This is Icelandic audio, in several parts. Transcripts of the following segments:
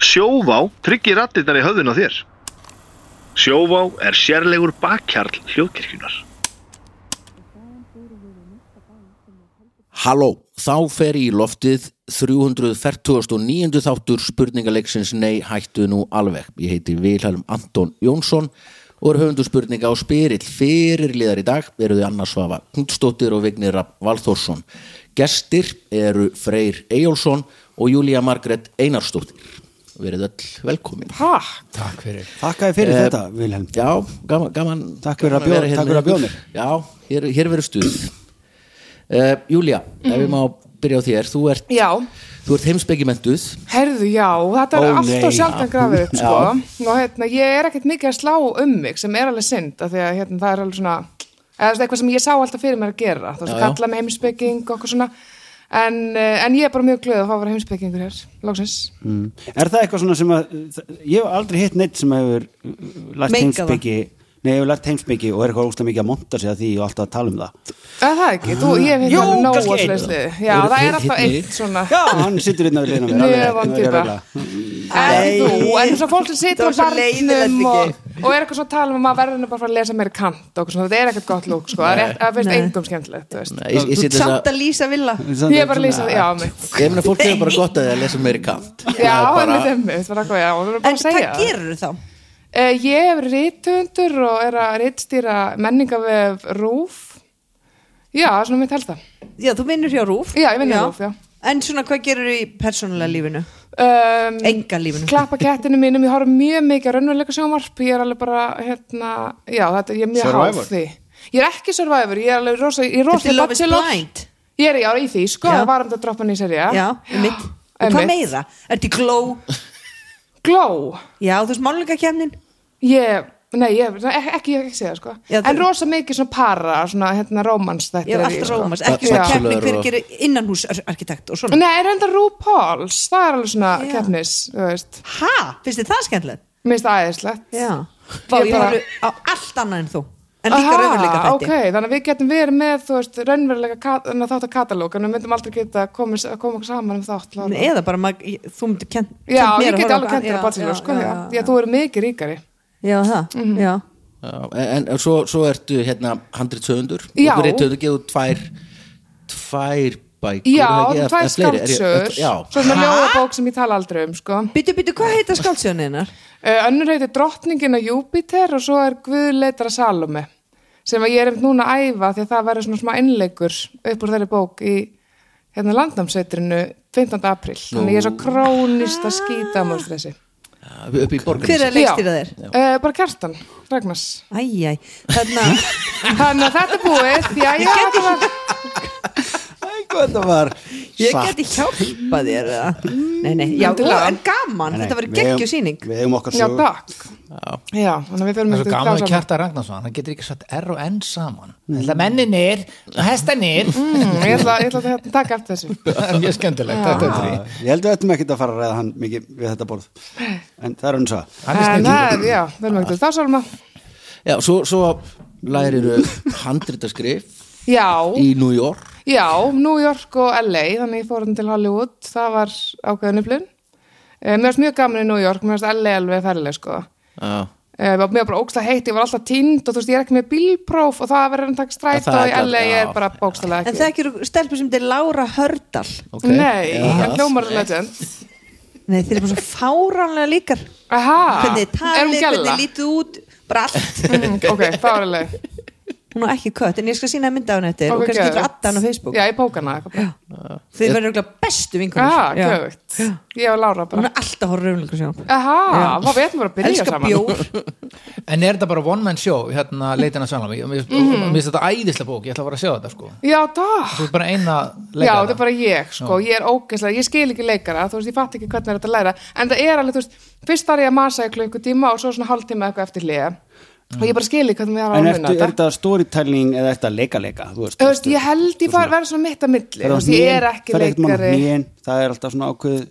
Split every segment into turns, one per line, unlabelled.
Sjóvá tryggir rattirnar í höfðun á þér. Sjóvá er sérlegur bakkjarl hljóðkirkjunar.
Halló, þá fer í loftið 349. þáttur spurningaleiksins Nei, hættu nú alveg. Ég heiti Vilhelm Anton Jónsson og er höfundu spurninga á spyrill. Fyrirliðar í dag eru þið Anna Svafa Knudstóttir og Vignir Rapp Valþórsson. Gestir eru Freyr Eyjólfsson og Júlía Margrét Einarstóttir. Verið öll velkomin.
Takk fyrir
Takk að þið fyrir
Eh,
þetta, Vilhelm
Já, gaman, gaman
Takk fyrir að
gaman
bjóða-
vera hérna
takk fyrir að
með
bjóða
ykkur. Já, hér, hér verður stuð uh, Júlía, ef við má byrja á þér Þú ert,
Já,
þú ert heimspekimentuð
herðu, já, þetta
Ó,
er allt
nei.
og sjaldan grafið upp, sko. Og hérna, ég er ekkert mikið að slá um mig, sem er alveg synd, af því að hérna, það er alveg svona, eða þú veist, eitthvað sem ég sá alltaf fyrir mér að gera. Þú veist,
Já, já.
kalla mig heimspeking og okkur svona. En, eh, en ég er bara mjög glöð að fá að vera heimspekingur hér, lóksins.
mm. Er það eitthvað svona sem að Ég hef aldrei hitt neitt sem hefur uh, lært
Meikað það.
heimsbyggi Nei, hefur lært heimsbyggi og er eitthvað óslega mikið að monta sig að því og alltaf að tala um það
Eða það ekki, þú, ég hef
Jú,
hérna alveg nóg
kannski
að
einn.
sliðið. Já,
Þú-
það
hitt-
er alltaf
hitt mig.
eitt svona.
Já, hann sittur inn á liðina mér
Ah.
alveg,
Mjög vond
alveg
týpa.
reglulega.
En þú, en þess að fólk sem
Það
situr á
var svo leiðilegt,
barnum og, og er eitthvað svona að tala um að maður verður nú bara að fara að lesa meiri kant og eitthvað svona, þetta er ekkert gott lúk, sko, það er eitt- það finnst
Nei.
engum skemmtilegt, þú veist.
Nei, Ég, ég,
Þú
sit
ert
þess
samt
að-
að lýsa villa
Ég er bara að lýsa, já, mitt.
ég meina fólk hefur bara gott að það lesa um meiri kant Það
Já,
er
en
bara,
þetta er mitt, var eitthvað, já, og við erum
En
bara að
hvað
segja. það.
gerur þá?
Eh, Ég hef rítundur og er að rítstýra menningavef RÚF. Já, svona mitt held það.
Já, þú vinnur hjá Rúf
Já, ég vinn hjá RÚV, já.
En svona, hvað gerur í persónulega lífinu?
um,
Enga lífinu
klappa kettinu mínum, ég horf mjög mikið á raunveruleika sjónvarp, ég er alveg bara hérna, já þetta, ég er mjög
Survivor?
háð því ég er ekki survivor, ég er alveg rosa ég er
Þetta
rosa
er Love is Blind
ég er já, í því, sko,
Já.
það var um þetta droppan í serja
Já, mitt Og
Einmitt.
hvað meira? Ertu í glow?
Glow,
Já, þú veist máluleika kemnin
ég Nei, ég, ekki, ekki, ég ekki segja, sko
Já, þú-
En rosa mikið svona para, svona, hérna, romans þetta
Ég er
í,
alltaf
sko.
rómas,
Ba-
ekki svona
Já.
kemni hver
bachelor og-
gerir innanhúsarkitekt og svona
Nei, er enda RuPaul's, það er alveg svona
Já.
keppnis, þú veist
Ha, finnst þið það skemmtilegt?
Mér finnst það æðislegt
Já Vá,
Ég
ég
bara-
voru á allt annað en þú En líka
Aha,
raunveruleika þætti
ok, þannig að við getum verið með þú veist, raunveruleika kat- þennan þátt að katalóg en við myndum aldrei geta komið koma okkur saman um þátt til að horfa.
Eða bara, mað, þú myndir kent
Já,
kennt mér
ég
að
geti
horfa á-
alveg kentir
já,
að bátsinu,
já,
sko já,
já,
já, Mhm. þú eru mikið ríkari
Já, það, já
já, en, en svo, svo ertu hérna 100 höfundur
Já.
og þú reytuðu gefðu tvær tvær bækur
Já,
er það ekki? Eða-
tvær
eða fleiri, er ég-
skaldsögur
Já,
Svo svona ljóðabók sem ég tala aldrei um, sko
Byttu, byttu, hvað heita skáldsjóninar?
uh, Önnur heitir Drottningin á Júpiter og svo er Guðleitar að Salome sem að ég er einmitt núna að æfa því að það verður svona smá innleikur upp úr þeirri bók í hérna landnámsveitrinu 15. apríl Þannig að ég er svo krónist að skýta mjög stressi
já, upp í borgarins
Hver er leikstýra þér?
Já. Eh, bara kjartan, Ragnars
Æjæ, þarna
Þannig að þetta er búið já, já, þetta var,
Æ, hvað þetta var
Ég
satt.
geti hjálpa þér eða? Nei, nei, já, og,
Endilega.
en gaman,
Nei, nei,
þetta var
við
geggjur
eigum-
sýning
Við hefum okkar
já,
sögur
takk Já, þannig að við förum
Það er svo
eftir
gaman að
klám saman.
kjarta Ragnarsson, hann getur ekki satt R og N saman Þetta menninir, hestanir
Mm, Ég ætla, ég ætla að hérna, taka eftir þessu
Það er mjög skemmtilegt, þetta er því
Ég held að þetta með ekki að fara að ræða hann mikið við þetta borð En það er hún svo
Hann er
En
snillíkur.
það, já, förum eftir þá sálma
Já, svo, svo læriru handritaskrif
Já,
í New York
já, New York og LA Þannig að ég fór hann til Hollywood Það var ákveðinuflun Mér varst mjög gaman í New York, mér varst LA alveg ferðileg sko
Já,
Eh, Mér var mér var bara ógsta heitt, ég var alltaf tind og þú veist, ég er ekki með bílpróf og það að vera að taka stræt
það er
og í
ekki-
LA
já.
er bara bókstælega ekki
En það ekki eru stelpur sem þetta er Lára Hördal
ok
Nei,
Já.
en hljómar er legend
Nei, þeir eru bara svo fáránlega líkar
Aha,
Hvernig þið
er hún
talið,
gælla?
hvernig lítið út Bara allt
Mm, ok, það var alveg
Hún er ekki kött, en ég skal sína mynda á henni eftir
Ok,
Og kannski
geðveikt.
getur adda hann á Facebook
Já, ég bóka hana eitthvað bara.
Þeir verður örugglega
Aha,
bestu vinkunir
gjöfugt Ég og Lára
Hún
bara
er alltaf horror raunleika sjón
Aha,
Já.
hvað við ætlum bara að byrja
Elskar
saman
bjór
En er þetta bara one man show, hérna leitin að sannlega og mér og
Mhm.
mér finnst þetta æðislega bók, ég ætla að fara að sjá þetta sko
Já, það
Þú er bara eina
Já,
leikara
þetta er bara ég, sko, ég er ógeðslega, ég skil ekki leikara, þú veist, ég fatt ekki hvernig er þetta að læra, en það er alveg, þú veist, fyrst var ég að masa í klukku tíma og svo svona hálftíma eitthvað eftir liða og ég bara skil ekki hvernig við
En
erum að
ertu,
ámuna
er
þetta.
þetta storytelling eða er þetta leika-leika? Þú veist,
Þú veist, ég held ég far, verið svona mitt að milli, þú veist, ég er ekki leikari.
nýjen, Það er alltaf svona ákveð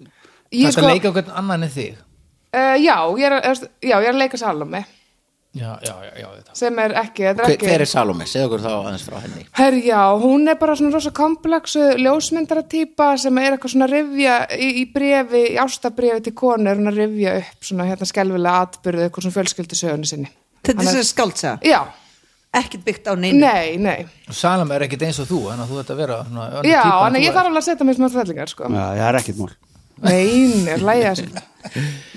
Ég
Þetta
sko, eh,
leika okkur annan en þig
uh, já, ég er, að- já, ég er að leika Salome.
já, já, já, já þetta.
sem er ekki, þetta er
Hver,
ekki
hver er Salome? Segðu okkur þá aðeins frá henni
Herri, já, hún er bara svona rosa komplexu ljósmyndaratýpa sem er eitthvað svona rifja í, í brefi, í ástabrifi til konu er hún að rifja upp svona hérna skelfilega atbyrðu eitthvað svona fjölskyldisögunni sinni.
Þetta
Hann
er
er-
sem skáldsa
Já,
Ekkert byggt á neinu
nei, nei.
Salome er ekkit eins og þú þannig að þú þetta vera svona, önnur
Já,
týpa en
en
þú
ég
ert.
þarf alveg að setja mér smá þrællingar, sko.
Já, það er ekkert mál
Nei, nei, hlæja þessu.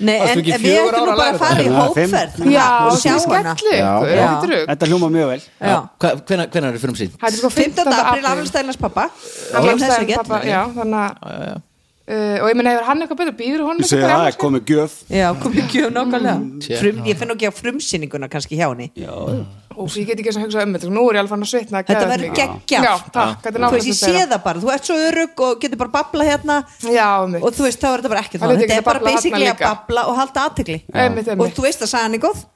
Nei,
Varstu
en
ekki
en við
fjögur ára
ættum nú bara
að læra
að fara í
þetta? Já, fimm.
hópferð
Já,
og sjá
þið
hana
skellu ykkur,
Já.
ekki drugg.
Þetta hljóma mjög vel
Já.
Hvenær hvenar er frumsýnd?
Það er sko
15.
15.
april
apríl.
afmælstælans pappa Gleym þessu
Afmælisdagurinn
ekki.
pabba, Já, þannig að... Uh, og ég meina, hefur hann eitthvað betur, býður hún
Ég segi það er komið gjöf
Já, kom ekki
Mm,
um nákvæmlega Frum, Ég finn ekki á frumsýninguna kannski hjá henni
Úf, ég get ekki eins og hugsa um þetta, nú er ég alveg fann að svitna
Þetta
geðveikt
verður
mikið.
geggjað.
Já, takk, þetta er
Þú veist,
nákvæmst
ég sé það bara, þú ert svo örug og getur bara babla hérna
Já, mitt.
og þú veist, þá er þetta bara ekkert
Það
það
er
Þetta
ekki
er bara
babla
basically
þarna
að
hérna líka.
babla og halda aðtegli
Einmitt,
Og
einmitt.
þú veist að sagan er góð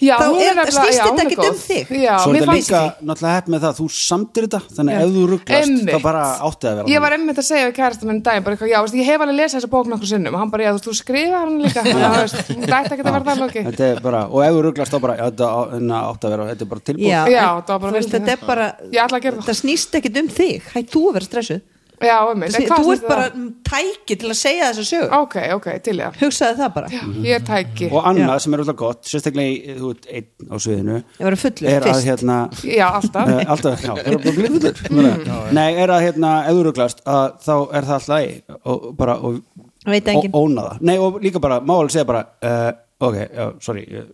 Já,
Þá
hún
er-
er nefnilega- já,
snýst þetta
hún er
ekkert
góð.
um þig?
Já,
Svo er
mér
þetta
fannst
líka náttúrulega hepp með það að Þú samtir þetta, þannig að ef þú rugglast
Einmitt.
þá bara átti að vera
Ég var einmitt að segja við kærasta minn um daginn bara eitthvað, já, veist, ég hef alveg lesað þessa bók nokkur sinnum og hann bara, já, þú veist, þú skrifa hann líka já, þú veist, hún dætti ekki að vera það lóki
Þetta er bara, og ef þú rugglast þá bara já, þetta á- hérna átti að vera, þetta er bara tilbúið
Já,
Já,
en
þetta var bara
þú veist,
veist
þetta er bara
Ég ætla að gera það.
Þetta snýst ekkert um þig, hætt þú að vera stressuð
Já, einmitt, en hvað
Þú
snýst um?
ert bara
það?
tæki til að segja þessa sög
Ok, ok, til ég
Hugsaðu það bara
Já, ég er tæki
Og annað sem er alltaf gott, sérstaklega í- þú ert einn á sviðinu
Ég var fullur
er að
fyrst
hérna
Já, alltaf Mm.
eh, alltaf, já, er bara blíð fullur Meina, Nei, er að hérna, ef þú rugglast að þá er það alltaf í og bara, og,
Veit
og
enginn.
óna það Nei, og líka bara, má alveg segja bara uh, ok, já, sorry ég,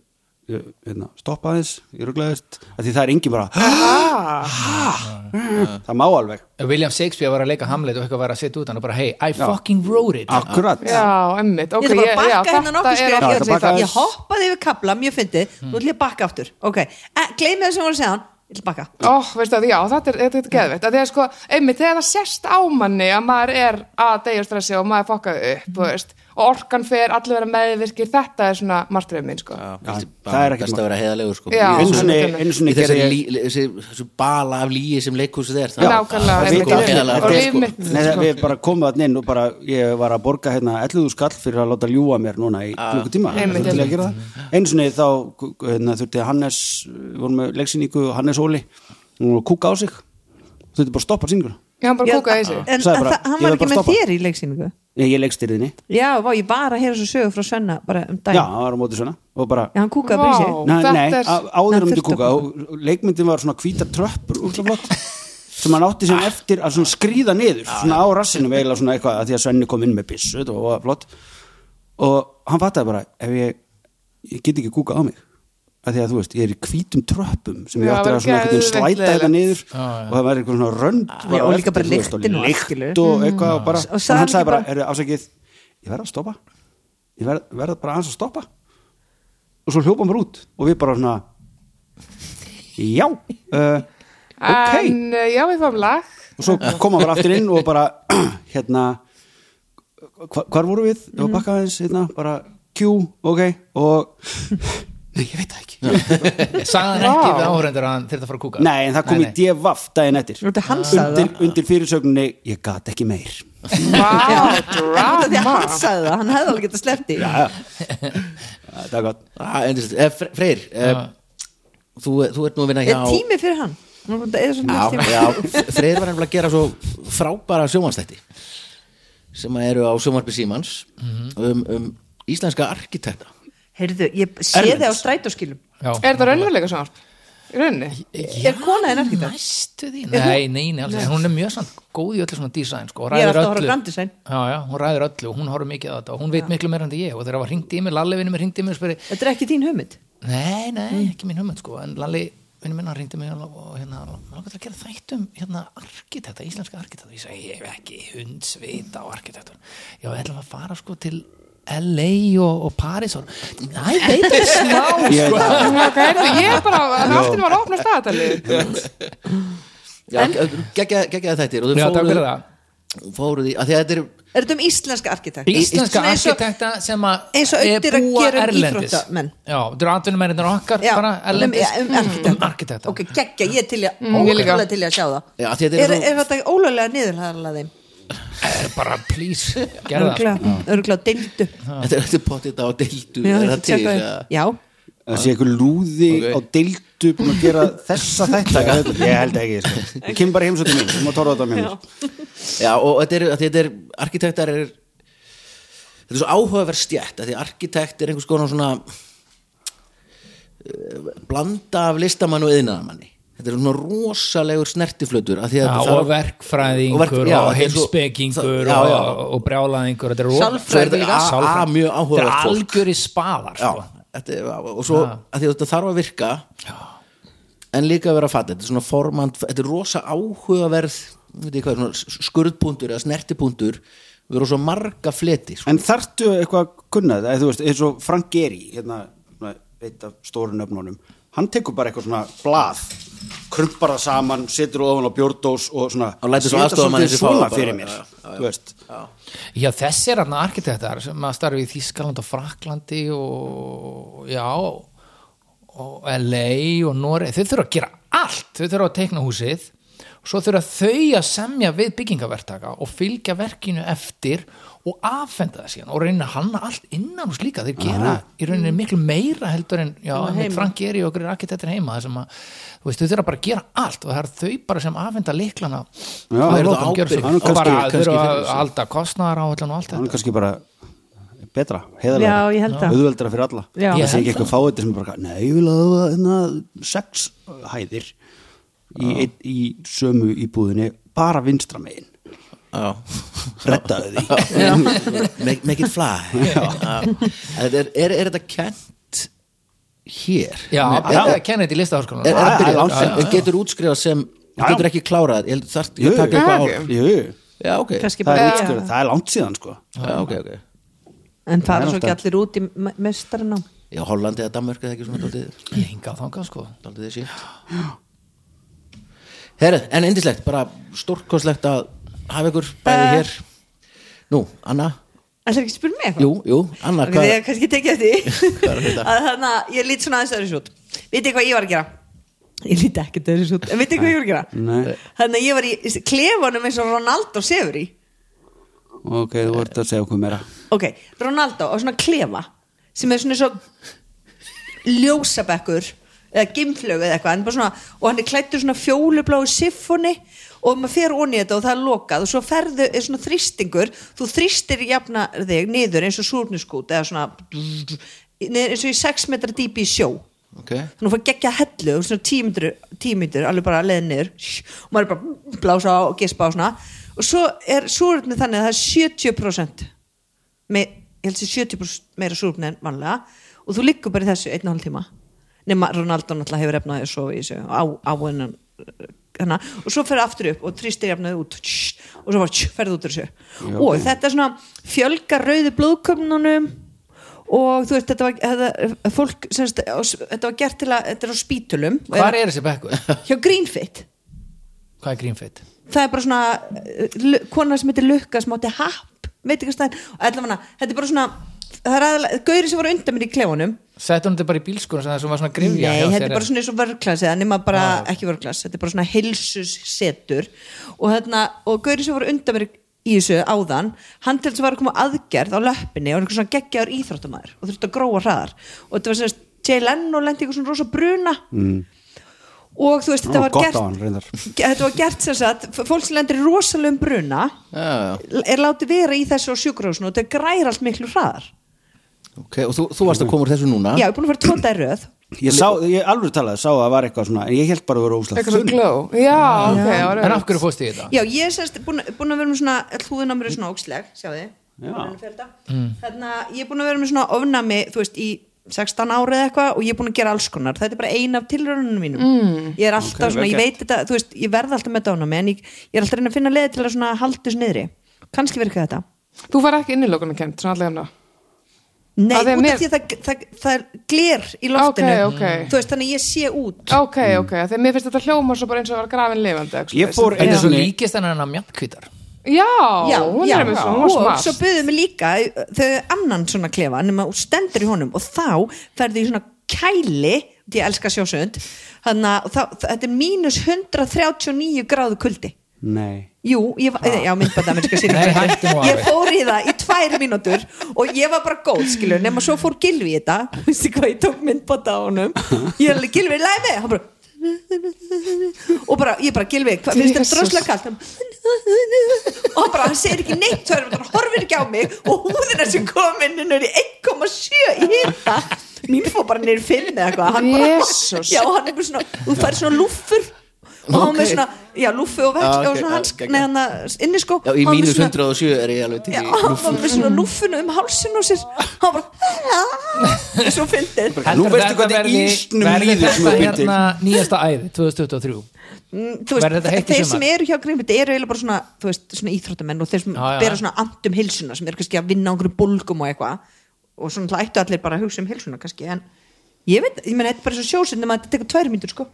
ég, hérna, stoppa aðeins, ég rugglaðist af því það er engin bara, það má alveg
William Shakespeare var að leika Hamlet og eitthvað var að setja út hann og bara hey, I fucking wrote it
akkurat
Já, einmitt, ok,
Ég ætla bara að
já,
bakka hérna
þetta
nokkuð
er Hmm.
Já,
skrif ég,
þetta
ætla
bakka
að- hérna ég
aðeins.
hoppaði yfir kabla, mjög fyndi Nú ætlum ég að bakka aftur Ok, Eh, gleymið það sem voru að segja hann Ég ætla að bakka
Ó, veistu það, já, þetta er, þetta er geðveitt að því að sko, einmitt, þegar það sérst á manni að maður er að deyja úr stressi og maður fokkað upp, þú veist, og orkan fer allir vera meðvirkir, þetta er svona martröðum minn, sko.
Já,
það
bara
er ekkert
best
mál.
að vera heiðalegur sko.
Já.
Í
einu
þessu-
sinni,
algjörlega.
einu
í
sinni
þessu,
gerði ég
lí, þessi, þessu bala af líi sem leikhúsið er það-
Nákvæmlega,
það-
einmitt,
það-
einmitt.
heiðarlega,
Og
sko.
líf mitt,
Nei,
sko.
við bara komum þarna inn og bara ég var að borga hérna 11 skall fyrir að láta ljúa mér núna í klukkutíma
Einmitt,
Þurfti að
einmitt.
gera það. einu sinni þá hérna, þurfti Hannes, við vorum með leiksýningu og Hannes Óli, hún var að kúka á sig þurfti bara að stoppa sýninguna
Já, hann bara
Já,
kúkaði í sig.
En en
Sagði bara,
það- hann
ég
var
verð
ekki
bara
með
að stoppa.
þér í leiksýningu
ég, ég leikstýrðinni,
Já, vá, ég var að heyra svo sögu frá Svenna bara um
já,
daginn
hann var á móti svona og bara,
Já, hann kúkaði bara í sig
Vá.
nei,
þetta
nei
er-
á- áður
Hann
hann myndi
þurfti að
kúka og leikmyndin var svona hvítar tröppur útla flott sem hann átti
Ah.
sem eftir að svona skrýða niður svona á rassinum eiginlega svona eitthvað að því að Svenni kom inn með byssu þetta var flott og hann fattaði bara ef ég, ég get ekki kúka á mig að því að þú veist, ég er í hvítum tröppum sem ég
Já,
átti að
bara
svona einhvern veginn
geðveikt
slæta þetta
leiðilegt.
niður og það var eitthvað svona rönd var
Já,
á
og
eftir,
líka bara
þú veist,
lyktin og allt,
og
skilurðu.
lykt og eitthvað og bara,
Og
og
sagði
hann sagði
ekki
bara,
bara-
er afsakið ég verð að stoppa ég verð, verð bara aðeins að stoppa og svo hljópa hann bara út og við bara svona já uh, ok
En, uh, já, við fáum lag.
og svo kom hann bara aftur inn og bara hérna hva, hvar voru við, ég var bakkað aðeins hérna, bara Q, ok og nei, ég veit það ekki
sagði hann ekki við áhörendur að hann þurfti að fara að kúka
nei, en það kom í devaff daginn eftir
Þetta er hans sagði
undir,
það
undir fyrirsögninni, ég gat ekki meir
Vá,
Þetta er
drama.
hans sagði það, hann hefði alveg getað sleppt í
það er gott
Ah, endist, eh, Fre- Freyr eh, þú, eh, þú ert nú að vinna hjá
Er tími fyrir hann? Nú er þetta- er svona
já,
tími.
já, Freyr var nefnilega að gera svo frábæra sjómanstætti sem að eru á sjómarpi Símans
Mhm.
um, um íslenska arkitekta
Heyrðu, ég sé þið á strætóskilum
Er þetta raunveruleika sjónvarp? Í rauninni?
Er kona en arkitekt?
næstu því nei, nei, nei, alls ekki. hún er mjög sann góð í öllu svona design sko, og
Ég er
ræður
alltaf að horfa á
öllu.
Grand Design.
já, já, hún ræður öllu, og hún horfður mikið að þetta og hún veit miklu meira en þetta ég og þegar var hringt í mig, Lalli vinur mér hringt í mig og spyrir
Þetta er ekki þín hugmynd
nei,
Mm.
nei, ekki minn hugmynd sko en Lalli vinur minna hringdi mig og og hérna, hann langar til að gera þættum hérna arkitekta, íslenska arkitekta ég segi, ég hef ekki hundsvita á arkitektur já, við ætlum að fara sko til LA og, og Paris og næ, veit ég smá
Ég veit það.
Ok, heyrðu, ég er bara, en áttinni var að opna staðatalið.
geggjaði þættir og þau
Já, takk fyrir
fóruð
það.
fóru því, að því að þetta eru
Er þetta um íslenska arkitekt?
íslenska
Svona eins og-
arkitekta sem að
eins og
eh,
undir að
búa
gera um
erlendis
íþróttamenn.
já, dratunum er þetta okkar
Já,
bara erlendis
um, um arkitekta.
arkitekta
Ok, geggja, ég er til ég mm,
ég líka.
ólega til ég að sjá það
Já, því þetta
Er,
er
er,
svo-
þetta ólega niðurlæðarlega þeim?
Eh, bara please, gerða það
Öruglega, öruglega deildu
þetta er- þetta er potið á deildu
Já,
er
þetta
það til
tjekka-
eða-
Já,
það sé einhver lúði
Ok.
á deildu búin að gera þessa þetta ég held ekki, sko. ég kem bara heimsóttu mín þú má torfa þetta mér
Já, og þetta er, að þetta er arkitektar er þetta er svo áhugaverð stjætt að því arkitekt er einhvers konar svona eh, blanda af listamann og yðnaðamanni þetta er svona rosalegur snertiflötur að því að
Já,
það-
og verkfræðingur
Og
og,
verk- já, þetta er svo-
heimspekingur
það- já, já.
og, og brjálaðingur þetta er rosa-
Sálfræði Svo er þetta líka. a- a-
Sálfræði.
mjög áhugavert
þetta er
fólk.
algjöri spaðar
já,
sko.
þetta, er- og svo að því að þetta þarf að virka en líka að vera fatt þetta er svona formand, þetta er rosa áhugaverð veit ég hvað, svona skurðpuntur eða snertipuntur við erum svo marga fleti sko.
en þarftu eitthvað að kunna þetta eða þú veist, eins og Frank Gehry hérna, svona eitt af stóru nöfnunum hann tekur bara eitthvað svona blað krumpar það saman, setur það ofan á bjórdós og svona,
Og lætur svo
Setja
aðstoðarmann
svolítið
þessi fá það
svona
bara.
fyrir mér
Já, já, já.
þú veist
já, þessi er hann arkitektar sem að starfi í Þískaland og Fraklandi og já og LA og Noreg þau þurfa að gera allt, þau þurfa að teikna húsið og svo þurfa þau að semja við byggingavertaka og fylgja verkinu eftir og affenda það síðan og reyna að hanna allt innan hús líka þeir gera í rauninni
Mm.
miklu meira heldur en já,
Heima.
einmitt Frank Geri og okkur arkitektin heima þessum að, þú veist, þau þurfa bara að gera allt og það er þau bara sem affenda liklana
Já,
og
það er
lokum
ábyrgð.
gjörðu svo
Hann er
vel. og bara
kannski-
þau eru
kannski
að
fyrir sig.
halda kostnaðar á allan og allt
hann er
þetta
kannski bara betra,
já,
heiðalega
ég held að
auðveldara fyrir alla
Já.
það
Ég
sé
held
ekki eitthvað fáið sem bara, nei, ég vil að það hérna, sex hæðir í, ein, í sömu íbúðinni bara vinstra megin
já
rettaðu því
make, make it fly Já. Þetta er, er, er þetta kent hér?
Já,
er,
þetta er Kennedy listaháskólan
er, er,
Já,
er,
já,
er,
já, já.
en getur útskrifað sem
Já, já.
getur ekki klárað ég held þarf ekki
Jú,
að taka eitthvað ár
jú,
Já, ok,
kannski
það
bara
er útskrifað, það er langt síðan sko
já, ok, ok
en
Það
fara
er
svo ekki
alltaf-
allir út í me- meistaranám
Já, Hollandi eða Danmörk eða ekki svona daldið,
Ég hinga á þangað sko
daldið þessi Herra, en indislegt, bara stórkostlegt að hafa ykkur bæði hér Nú, Anna,
Það er ekki að spyrja mig eitthvað
jú, jú, Anna
Ok,
hvað
Þið er kannski tekið
Hvað er
eftir
þetta?
að þannig að ég lít svona aðeins öðru út Vitið hvað ég var að gera? Ég lít ekki öðru út En vitið hvað ég var að
Nei.
gera? Þannig að ég var í klefanum eins og Ronaldo sefur í
ok, þú vart að segja okkur meira
Ok, Ronaldo á svona klefa sem er svona svo ljósabekkur eða gimflög eða eitthvað hann er bara svona, og hann er klættur svona fjólubláu siffoni og maður fer onni þetta og það er lokað og svo ferðu er svona þrýstingur þú þrýstir jafna þig niður eins og súrnuskút eða svona niður eins og í 6 metra dýpi í sjó
Ok,
þannig að fór geggja hellu og svona tímyndur, tímyndur alveg bara leiðin niður og maður er bara blása á og gespa á svona og svo er súröfni þannig að það er 70% með, ég held sér 70% meira súröfni en vanlega og þú liggur bara í þessu einn og hálf tíma nema Ronaldo náttúrulega hefur efnaði að sofa í þessu á, á hennan hana, og svo ferðu aftur upp og tristir jafnaði út tss, og svo bara tss, ferðu út úr þessu og þetta er svona fjölga rauðu blóðköfnunum og þú veist, þetta var þetta, fólk, semst, þetta var gert til að þetta er á spítulum
Hvar er þessi bekkur?
hjá Greenfit
Hvað er Greenfit?
það er bara svona eh, lu- kona sem heitir Lukka sem átti happ veit ekki hvað stæðin, og allavega þetta er bara svona það er aðalega, gauri sem voru undan mér í klefunum
Settu hún þetta bara í bílskóna sem það sem var svona
nei,
grifja hjá
þetta er
þér?
bara svona eins og vörglas eða nema bara, ekki vörglas, þetta er bara svona heilsussetur og þarna, og gauri sem voru undan mér í í þessu áðan hann til þess að var að koma á aðgerð á löppinni og einhver svona geggjaður íþróttumæður og þurfti að gróa hraðar og þetta var semst, Jay Leno lendi eitthvað svona rosa bruna mm. og þú veist, þetta
Ó,
var
gott á
gert
hann, reyndar.
þetta var gert sem sagt, f- fólk sem lendir í rosalum bruna
já, já,
er látið vera í þessu á sjúkrahúsinu og þetta græðir allt miklu hraðar
ok, og þú, þú varst að koma úr þessu núna
já, ég er búin að fara tvo dagar í röð
ég sá, ég alveg talaði, sá að það var eitthvað svona en ég held bara að vera óslega
eitthvað svo gló já, ok, já,
En af hverju fórstu í þetta?
já, ég er semst búin, búin að vera með svona hlúðin á mér er svona óksleg, sjáði mm. þannig að ég er búin að vera með svona ofnami, þú veist, í 16 ára eða eitthvað og ég er búin að gera alls konar þetta er bara ein af tilraununum mínum mm. ég er alltaf svona, ég veit þetta, þú veist, ég verð alltaf með þetta ofnami en ég, ég er alltaf að reyna að finna leið til að svona haldi þessu niðri, kannski virka þetta
þú fær ekki innilokunni kent, svona allega hana
Nei,
Af því að
út
mér-
af því að það, það, það er gler í loftinu
Ok, ok.
Þú veist, þannig að ég sé út
ok, ok, þegar mér finnst þetta hljóma svo bara eins og að vera grafin lifandi eitthvað
Ég
svoleiðis.
fór
Þetta
einu
er svo
sinni
líkist hennar en að mjallkvítar
já, hún er með svo, hún var
og
smart
svo buðum við líka þau annan svona klefa nema þú stendur í honum og þá ferðu í svona kæli því ég elska sjósund þannig að þá- þa- þetta er mínus 139 gráðu kuldi
nei
Jú, ég, var- já, myndbæta mér skal
Nei, hættu nú alveg.
Ég fór í það í tvær mínútur og ég var bara góð skilur nema svo fór Gilvi í þetta veistu hvað ég tók myndbata á honum ég er alveg Gilvi læfi hann bara og bara, ég bara Gilvi hvað finnst þetta
Jesus.
droslega kalt Hann- og hann bara, hann segir ekki neitt það er bara, horfir ekki á mig og húðina sem kom inn hún er í 1,7 í hita mín fór bara niður fimm eða eitthvað hann bara,
Jesus.
já, hann er bara svona, þú fær svona lúffur og hann var
Ok.
með svona, já, lúffu og
Já,
vekk
ok,
og svona
já,
hans,
geggjað.
neðan inniskó
Já, í
sko. Hann var með
mínus
svona-
107 er ég alveg til
Já,
í
hann
lúff.
var með svona lúffuna um hálsinn og sér hann var bara svo fyndið
Nú
Heldurðu
veistu
þetta
hvernig
verði-
ísnum
verði
líður
þetta
sem þú býr til.
hérna nýjasta æði 2023
Mm, þú
Verður þetta heitt í
þeir
sumar?
sem eru hjá Grimmitt eru eiginlega bara svona, þú veist, svona íþróttamenn og þeir sem
Já, já.
bera svona andum hilsuna sem eru kannski að vinna á einhverju bólgum og eitthvað og svona það ættu allir bara að hugsa um hilsuna kannski en ég veit, ég meina, þetta er bara svo sjósundum að þetta tekur tvær mínútur sko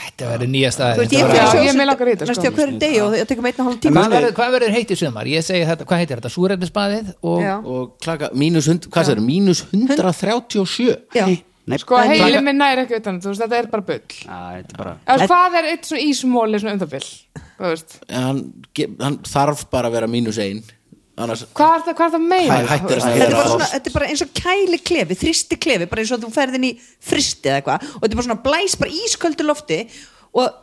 Þetta verður nýjasta
þú veist,
æði
ég
var-
fyrir
Já, ég
sjósund
mig langar í þetta, sko.
næstu á hverju degi og það tekur með einn og hálf
En
tíma
málið-
Hvað verður heitt í sumar? Ég segi þetta, hvað heitir þetta? Súrefnisbaðið og
sko. Já.
og klaka, mínus, hund, hvað sér, mínus 137
já,
Nei,
sko
En-
heilin minn næri ekki utan um þetta, þú veist, þetta er bara bull
Æ, þetta er bara
Eða, hvað er eitt svona ísmóli svona um það bull þú veist,
hann, ge- hann þarf bara að vera mínus 1 annars
hvað er það, hvað er það
Hæ-
meira
hættir að
þetta er,
Þetta
bara
er
svona,
frost.
þetta er bara eins og kæli klefi þristi klefi, bara eins og þú ferðin í fristi eða eitthvað, og þetta er bara svona blæs bara ísköldu lofti og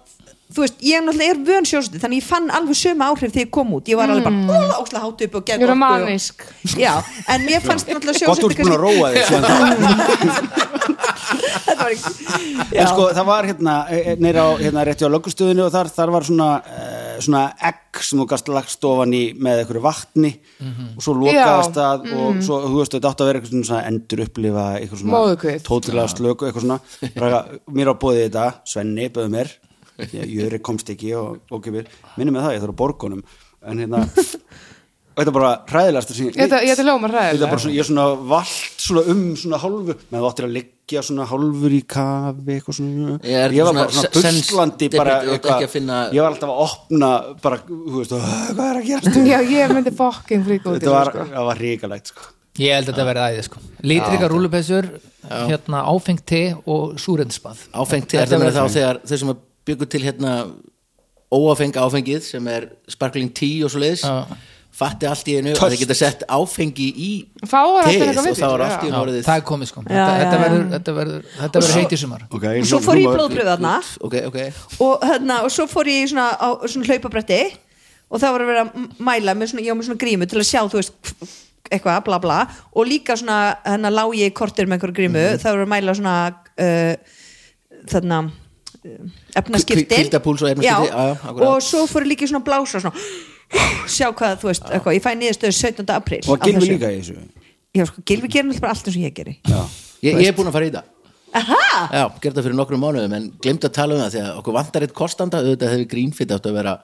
þú veist, ég náttúrulega er vön sjósundi þannig ég fann alveg sömu áhrif þegar ég kom út ég var alveg bara "Ó, ókslega hátt upp
Ég
og gegn
er
orku og-
manísk
já, en mér fannst náttúrulega
Gott úr
sjósundi
spil að róa þig síðan þá.
þetta var ekki
En sko það var hérna neyra á hérna rétti á lögustöðinu og þar, þar var svona, uh, svona egg sem þú gast lagst ofan í með einhverju vatni og svo lokaðast
Já,
það og svo þú veist þetta átt að vera eitthvað svona endur upplifa eitthvað svona
Móðurkvið.
tótilega slöku eitthvað svona Raka, mér á bóðið þetta, Svenni bauð mér Ég- Jöri komst ekki og, og kemur, minnum með það, ég þarf að borgunum en hérna og þetta er bara hræðilegast
Þetta- þetta hljómar hræðilega.
bara svona, ég er svona vald svona um svona hálfu með þú áttir að liggja svona hálfur í kafi eitthvað svona
Ég er
ég, var bara
svona
svona
sens-
buslandi bara
þú ert
eitthvað,
ekki að finna-
ég var alltaf að opna bara, þú veist, "Åh, hvað er að gerast hérna?"
já, ég myndi fokking fríka út í þessu,
þetta var,
sko.
það var ríkalegt sko.
Ég held að þetta verði æði sko Litrika rúlupessur, hérna áfengt te og súrefnisbað
áfengt er það með þá þegar þeir sem byggur til hérna óáfeng áfengið sem er sparkling tea og svo leiðis
Já.
fatti allt í einu og þeir geta sett áfengi í
Fá er alltaf
teið
eitthvað
og
við
þá
því,
er
já.
allt
Já,
í einu orðið
það er komið sko Þetta
já,
þetta
já.
verður- þetta verður- þetta verður heitt í sumar
okay,
og svo fór ég í
nú-
blóðpröfu þarna
ok, ok
og, hérna, og svo fór ég í svona, á, svona hlaupabretti og það var að vera að m- mæla með svona, ég var með svona grímu til að sjá þú veist, eitthvað, bla bla og líka svona, hérna lá ég í kortir með einhverju grímu,
Mhm.
það var að mæla svona uh, þarna efnaskiptin
Hví- hvíldarpúls og efnaskipti, já, já, akkurat.
og svo fór ég líka í svona blása svona, sjá hvað, þú veist, eitthvað ég fæ niðurstöðu 17. apríl
og
á
gilvi
þessu.
líka í þessu
já, sko, Gilvi gerir náttúrulega bara allt eins og ég geri
Já.
ég, ég er búin að fara í það
aha,
Já, gerði það fyrir nokkrum mánuðum en glemt að tala um það því að okkur vantar eitt kostanda auðvitað hefur grínfitt átt að vera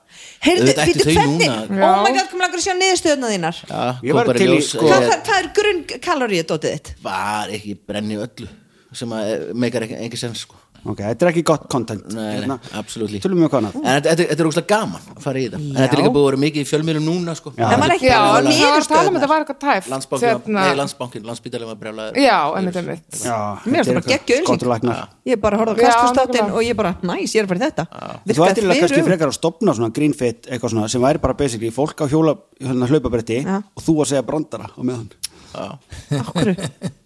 heyrðu,
auðvitað
veitu
ættu þau
hvernig
núna
oh my god, kom langar að sjá niðurstöðuna þínar
Já,
Ég
kom
væri
bara
til í,
ljós,
sko-
hvað,
eh,
hvað, hvað er grunn kaloríu dótið þitt?
var ekki brenni öllu sem að eh, meikar ekki, ekki sens sko.
ok, þetta er ekki gott content hérna.
nei, nei, absolutt en
tölum við um hvað annað
þetta, þetta, þetta er ógslag gaman að fara í þetta en þetta er líka búið að vera mikið í fjölmjölum núna sko.
Já,
En maður
þetta-
ekki
já, en
alveg
það var að tala um þetta
niðurstöðunar
var eitthvað tæft
landsbankin,
hérna-
nei, landsbankin, landsbítalinn var brjálaður
já, einmitt, einmitt
Já,
Mér finnst
þetta er
það bara
eitthvað
geggjöð auglýsing.
skonturlæknar.
Ég bara horfði á
Já,
kastastáttinn
nákvæmlega.
og ég bara, næs, ég er bara í þetta
Þú ættir að kannski
þveröfugt.
frekar að stopna svona greenfit eitthvað svona sem væri bara basically fólk á hjóla hérna, hlaupabretti
Já.
og þú að segja brandara á meðan
Af hverju?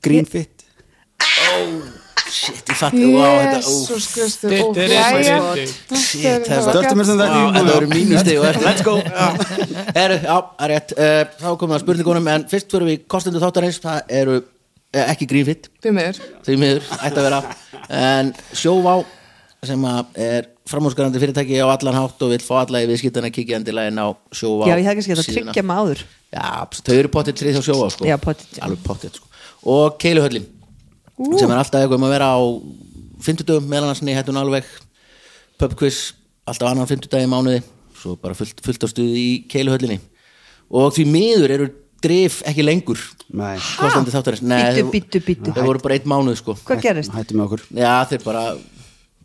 greenfit
shit, ég fatt, wow, þetta, úf,
Jésús Kristur ó, jæja.
shit
þetta var
Döftum við sem
Vá,
þetta í
þetta
búið.
voru mínustið og eftir Let's go Heru, Já, það er rétt Eh, Þá komum við að spurningunum En fyrst fyrir við kostendur þáttarins Það eru eh, ekki grífitt
Því miður.
Því miður, ætti að vera En sjóvá sem að er framhúsgarandi fyrirtæki á allan hátt og vill fá alla í viðskiptana kíkja endilega inn á sjóvá
Já, ég hefði kannski að
síðuna.
tryggja mig áður
Já, þau eru pottet þrið hjá sjóa sko.
Já, pottet, já.
Alveg pottet sko. Og keiluhöllin sem er alltaf eitthvað um að vera á fimmtudögum meðlanarsinni, hættun alveg pub quiz, alltaf annan fimmtudagi í mánuði, svo bara fullt, fullt á stuði í keiluhöllinni og því miður eru drif ekki lengur
Nei.
kostandi þáttarins Nei,
Bíddu,
þau-
bíddu, bíddu.
þau voru bara eitt mánuð sko.
Hvað gerist?
Hættum við okkur
Já, þeir bara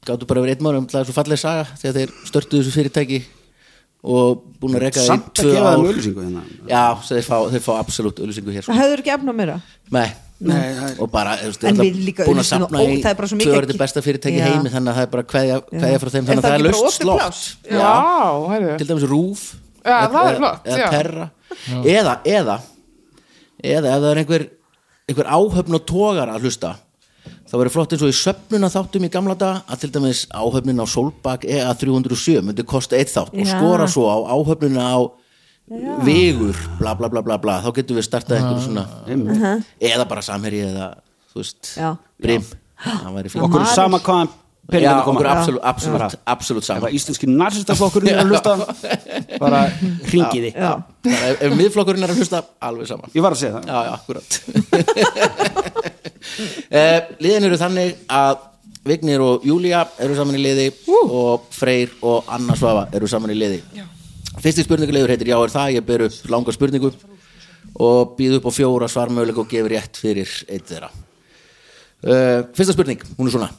gáttu bara verið eitt mánuð, um það er svo fallega saga þegar þeir störtuðu þessu fyrirtæki og búin að reka
Samt að
tvö
gefa þeim
ár.
auglýsingu hérna.
Já, svo þeir fá, þeir fá absolutt auðlýsingu hér sko.
Hefur ekki efna meira?
Nei, og bara þú veist, þeir
En
eru
við
alltaf búin
líka
að
auglýsum
sapna
og-
í
það er bara svo mikið
tvö
að
orðið
ge-
besta fyrirtæki í
Já.
heimi þannig að það er bara kveðja, kveðja frá þeim
Er
þannig að það er
ekki bara
laust
opið
slott
pláss?
já, heyrðu
til dæmis rúf
Já, það er
eða-
flott,
eða
já.
perra eða, eða eða ef það er einhver, einhver áhöfn og tógar að hlusta þá verður flott eins og í söfnuna þáttum í gamla dag að til dæmis áhöfnin á E Solbak EA 307 myndi kosta eitt þátt og
Já.
skora svo á áhöfnina á vegur, bla bla bla bla bla þá getum við startað einhverju svona eða bara samherji eða þú veist,
Já.
brim það væri fínt.
okkur er
Maður-
sama hvaðan
Já,
peningana
okkur
koma
absolutt, absolutt, absolutt
ef
sama
að íslenski narsistaflokkurinn er að hlusta bara ringiði
Já.
Bara ef, ef miðflokkurinn er að hlusta, alveg sama
ég var að segja það
já, já, akkurat uh, liðin eru þannig að Vignir og Júlía eru saman í liði og Freyr og Anna Svafa eru saman í liði já. fyrsti spurningulegur heitir Já er það, ég ber upp langa spurningu og býð upp á fjóra svarmöðuleik og gefur rétt fyrir eitt þeirra uh, fyrsta spurning, hún er svona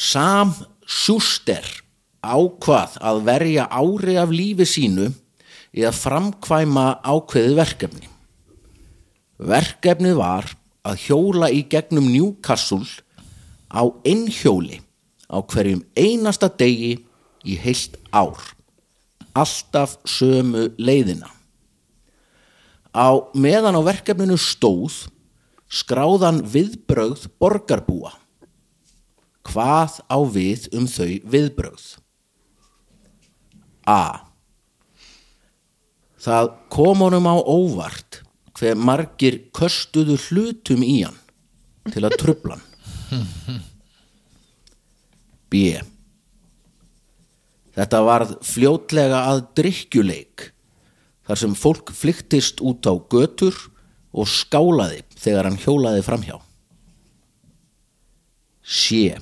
Sam Schuster ákvað að verja ári af lífi sínu í að framkvæma ákveðið verkefni. Verkefnið var að hjóla í gegnum Newcastle á einhjóli á hverjum einasta degi í heilt ár. Alltaf sömu leiðina. Á meðan á verkefninu stóð skráðan viðbrögð borgarbúa hvað á við um þau viðbrögð? A. Það kom honum á óvart hver margir köstuðu hlutum í hann til að trubla hann. B. Þetta varð fljótlega að drykkjuleik þar sem fólk flyktist út á götur og skálaði þegar hann hjólaði framhjá. C.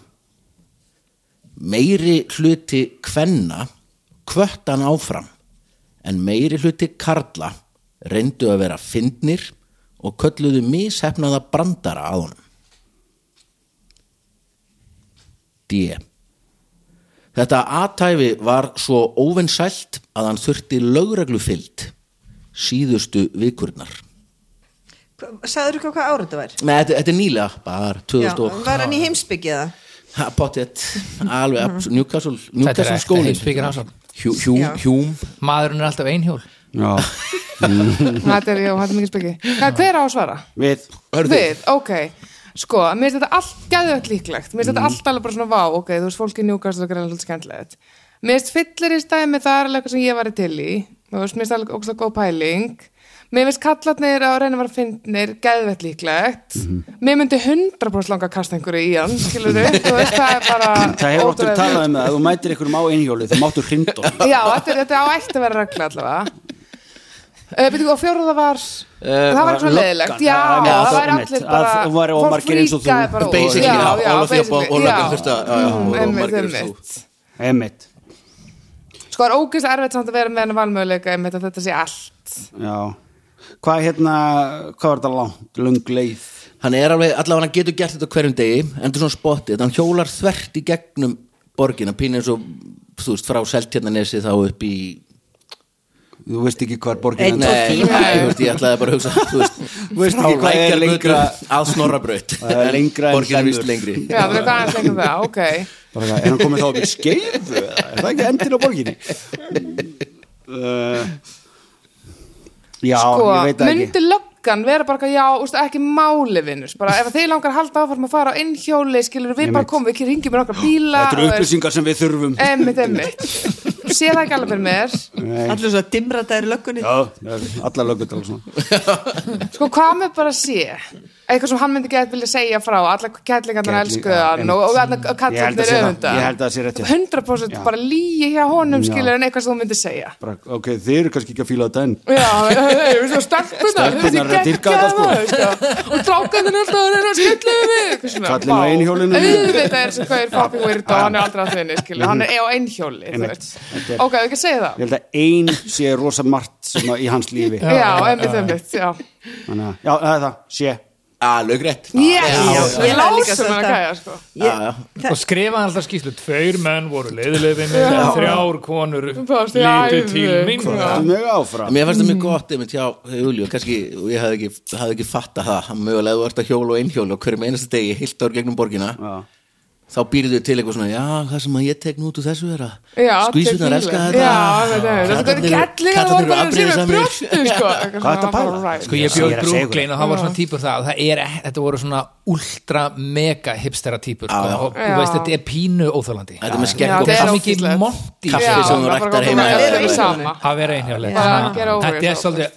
Meiri hluti kvenna kvött hann áfram en meiri hluti karla reyndu að vera fyndnir og kölluðu mishefnaða brandara að honum. D. Þetta aðtæfi var svo óvinsælt að hann þurfti lögreglufyllt síðustu vikurnar.
Sæður ykkur hvað árið þetta væri?
Nei, þetta, þetta er nýlega, bara
Já,
2000 og...
var hann í heimsbyggið það?
Ha, Pottet, alveg abs- Newcastle,
Mhm. Þetta er
Newcastle
ekta
skólin
heimspekir ásán.
Hjú- hjú-
Já.
Hjúm
maðurinn er alltaf einhjól
já.
Þetta er, já, þetta er mikið spekki. Hvað, hver á að svara?
við
Við, ok. Sko, mér finnst þetta allt gæðvögt líklegt. Mér finnst
Mhm.
þetta allt alveg bara svona vá, ok, þú veist, fólki njúkast og greinlega hlut skemmtilegt. Mér finnst fyllir í stæmi, það er alveg eitthvað sem ég var til í. Þú veist, mér finnst alveg ógst góð pæling. Mér finnst kallatnir að reyna að vera fyndnir gæðvett líklegt.
Mhm.
Mér myndi 100% langa að kasta einhverju í hann, skilur þú veist, það er bara...
það hefur óttur
ótrúlega-
talað um það ef þú mætir einhverjum á einhjóli þá máttu hrindu
Já, þetta, er- þetta á ætti að vera regla allavega Uh, byrju, og fjóruða var það var eitthvað
löggan,
leiðilegt já,
Eh, já, já,
það var
einmitt,
allir bara
að þú væri
fólk
ómargir eins og þú.
fríkaði bara út.
Basically,
já,
já,
já,
all of the above,
basically,
all of
já.
them þurftu að- já, já,
Mm,
voru
einmitt,
ómargir eins og
einmitt.
emitt
sko það er ógeðslega erfitt samt að vera með hennar valmöguleika einmitt að þetta sé allt
já hvað hérna hvað var þetta langt lung leið
Hann er alveg, allavega hann getur gert þetta á hverjum degi endur svona spottið, hann hjólar þvert í gegnum borgina, pínu eins og þú veist, frá Seltjarnanesi þá upp í
þú veist ekki hvað borgin
Einn
er
og-
Nei,
tíma.
nei, þú veist, ég ætlaði bara að hugsa þú veist,
veist ekki hvað er
Lækjargötu
lengra-
að snorrabraut
Það er lengra en
borgin er vist
Hlemmur.
lengri
já, það er hvað aðeins lengur það, ok
Bara hvað, er hann komið þá upp í skeifu eða? er það ekki endir á borginni uh, já,
sko,
ég veit það ekki
myndi löggan vera bara eitthvað, já, úst, ekki máli vinnus bara ef þið langar að halda áfram að fara á innhjóli skilur við bara
Einmitt.
komum, við ekki ringjum með okkar bíla
þetta eru
og er-
upplýsingar sem við þurfum
einmitt, einmitt sé það ekki alveg fyrir mér
Nei.
Allir svo að dimra þetta er löggunni
já, allar lögutal svona
Sko, hvað með bara sé? Eitthvað sem hann myndi gett vilja segja frá alla kællingarnar
Kælling-
elskuðu
já,
hann og, og, og, og
Ég held að
kallarnir
sé það.
öfunda
Ég held að það sé rétt, já.
100%
Já.
um bara lígi hjá honum
Já.
skilur en eitthvað sem þú myndi segja
Bara, ok, þið eru kannski ekki að fíla þetta enn
Já, hey, hey, stelpunar
Stelpurnar eru að dýrka þetta, sko.
sko. Og strákarnir alltaf að reyna að skella við mig, eitthvað svona.
Kallinn á
Vá.
einhjólinu.
Auðvitað er sem hvað er fucking weird og hann er aldrei að þinni, skilur Hann er á einhjóli, þú
Mhm. Einmitt.
veist
Þetta er-
Ok, við ekki að segja
ég
það
held að ein sé rosa margt sem að- í hans lífi
Já, einmitt, einmitt, já
Þannig að, já, það er það, sé
að lögrétt
Yes,
já.
við lásum hann að
Þetta-
gæja, sko
Já, já.
og skrifaði alltaf skýslu tveir menn voru leiðilefinni en þrjár konur
Bara svona,
lítu
æ,
til
við-
mín
Já.
mjög áfram
Mér fannst það mjög
Mm.
gott einmitt hjá Júli og kannski og ég hafði ekki, hafði ekki fattað það að mögulega þú ert að hjóla og einhjóla og hverjum einasta degi heilt ár gegnum borgina
Já.
þá býrðu til eitthvað svona, já, það sem að ég tek nú út úr þessu er að
Já,
skvísunar
tequila.
elska þetta
Já, þetta er þetta er
Kallarnir-
ekki allir að
kallarnir
voru
eru
bara að sé með
afbrýðisamir.
brjóstu sko. Hvað
ertu að pæla?
Sko ég bjóð
Ég er að segja ykkur.
Brooklyn og hann var svona típur það að það er, e- þetta voru svona ultra mega hipstera típur sko,
já.
og þú veist þetta er pínu óþálandi
Þetta er með
Já,
skegg
það
og
þetta er
er
kaffi
mikið
ógeðslegt.
monti
Kaffi
Já,
sem þú
bara
ræktar
bara
heima
bara
hjá
vera
þér.
í sama.
að vera einhjálega
Já, get over
þetta
it,
er svolítið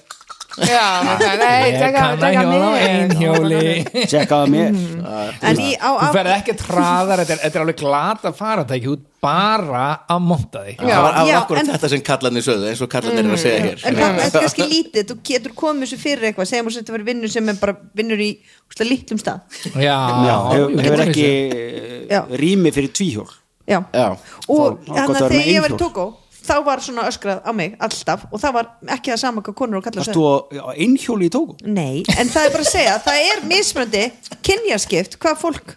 Já, þetta er- nei,
Ég
taka
kann að
taka
hjóla á
mig.
einhjóli
Tjekkaðu mér
en í, á,
Þú
á,
ferð ekki að traðar, þetta er, þetta er alveg glata faratæki út bara að monta þig
Það var
Já,
akkurat
en-
þetta sem kallarnir sögðu eins og kallarnir
Mm.
eru að segja hér
en það er kannski lítið þú getur komið þessu fyrir eitthvað segjum þess að þetta verið vinnur sem er bara vinnur í úst, lítlum stað
Já,
Já, hefur,
ég
hefur
veit
ekki
Já.
rými fyrir tvíhjól
já.
Já.
og
Þá- þá gott að
þannig að
vera með
þegar ég var í
einhjól.
Tókó þá var svona öskrað á mig alltaf og það var ekki það sama hvað konur og kallar
Varst þú á á einhjóli í tóku?
Nei, en það er bara að segja það er mismöndi kynjaskipt hvað fólk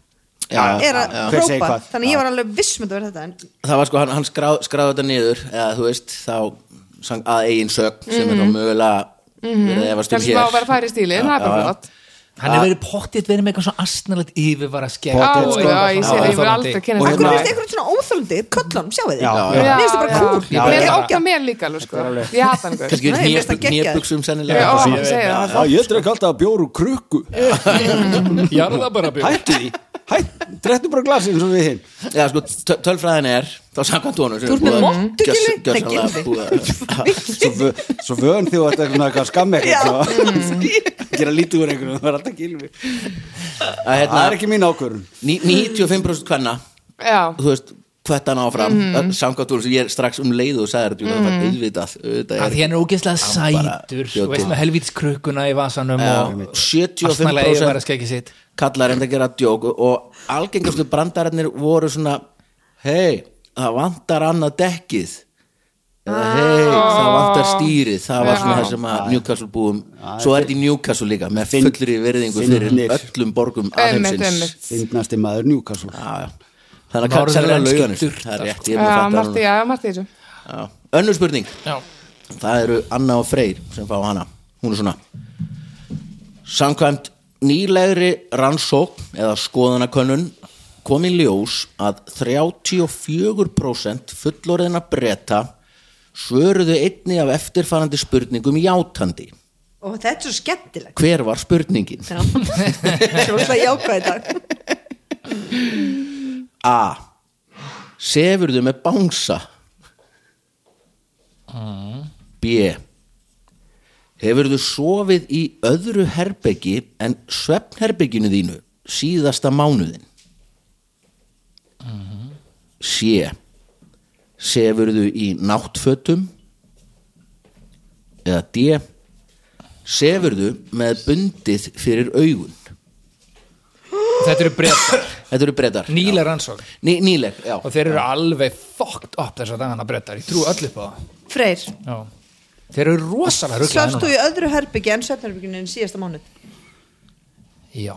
Já,
er að
já.
Hver segir
hrópa
hvað?
þannig að ég var alveg vissmönd að vera þetta en
það var sko, hann, hann skráð, skráði þetta niður eða þú veist, þá sang að eigin sögn sem er þá mögulega verið að efast um
Mm. Mhm. Kannski
hér
má vera færi í stílinn, það er bara flott
Hann er verið pottitt verið með eitthvað svo astnalegt yfirvara skegg
Á,
Pottet, sko.
já, ég sé það, ég vil aldrei kynna
Og
Akkur
hérna-
finnst eitthvað svona óþólandi, köllum, sjáu þið
Já,
Mér
Já,
finnst það bara
já.
cool
Mér finnst það ógæða mér líka alveg sko Ég hata hann guð
kannski
Nei, mér finnst það
verið
geggjað.
hnébuksum
Já,
sennilega
ó,
Eitthvað
ég
sem-
segi það.
Já,
ég drek alltaf bjóru krukku
Já, það er bara að bjóða
Hættu því, hættu, drettu bara glasið eins og við hinn
Já, sko, töl- tölfræðin er þá samkvæmt honum sem
Þú ert
er búið
með
að
mottu,
gjörs-
Gylfi? Nei,
gjörsamlega
Gylfi.
búið að-
Svo, vö- svo vön því að þetta er svona eitthvað skamm eitthvað svo- Gera lítið úr einhverjum, það var alltaf gilvi
að
Það er
hérna,
ekki mín ákvörun
ní- 95% hvenna
Já,
þú veist, hvert hann áfram
Mhm.
mm. samkvæmt honum sem ég er strax um leið og sagði þetta mm. auðvitað, auðvitað
Að
er
því hann er ógeðslega
bara
sætur
bjó
Þú veist
til.
með helvítis krukkuna í vasanum
Já,
og
75%
astnalega yfirvara skeggi sitt
kallar reynda að gera djók og algengastu brandararnir voru svona hei, það vantar annað dekkið eða hei, það vantar stýrið það var svona það sem að Newcastle búum svo er þetta í Newcastle líka með
Finn-
fullri verðingu fyrir
Finnir.
öllum borgum
Einmitt,
aðheimsins
einmitt.
Fyndnasti maður Newcastle
Já, já. þannig að
Norðurlenski
sérlega lauganir
durtar.
það er rétt, ég er
já,
búin að
Marti, já, Marti í þessu
fatta önnur spurning
Já
Það eru Anna og Freyr sem fá hana Hún er svona Samkvæmt nýlegri rannsókn eða skoðanakönnun kom í ljós að 34% fullorðina breta svöruðu einni af eftirfarandi spurningum játandi.
Og þetta er svo skemmtilegt
Hver var spurningin?
Svo er það jákvæði dag
A. Sefurðu með bánsa? B. Hefurðu sofið í öðru herbeggi en svefnherbegginu þínu síðasta mánuðin? C. Sefurðu í náttfötum? Eða D. Sefurðu með bundið fyrir augun?
Þetta eru breytar,
Þetta eru breytar.
nýlega rannsókn
Ný, nýleg, já.
og þeir eru alveg fucked up þess að dagana breytar, ég trú öll upp á það
Freyr,
Já. Þeir eru rosalega rugglaðir
svafst þú í öðru herbyggja en svefnherbygginu en síðasta mánuð
Já,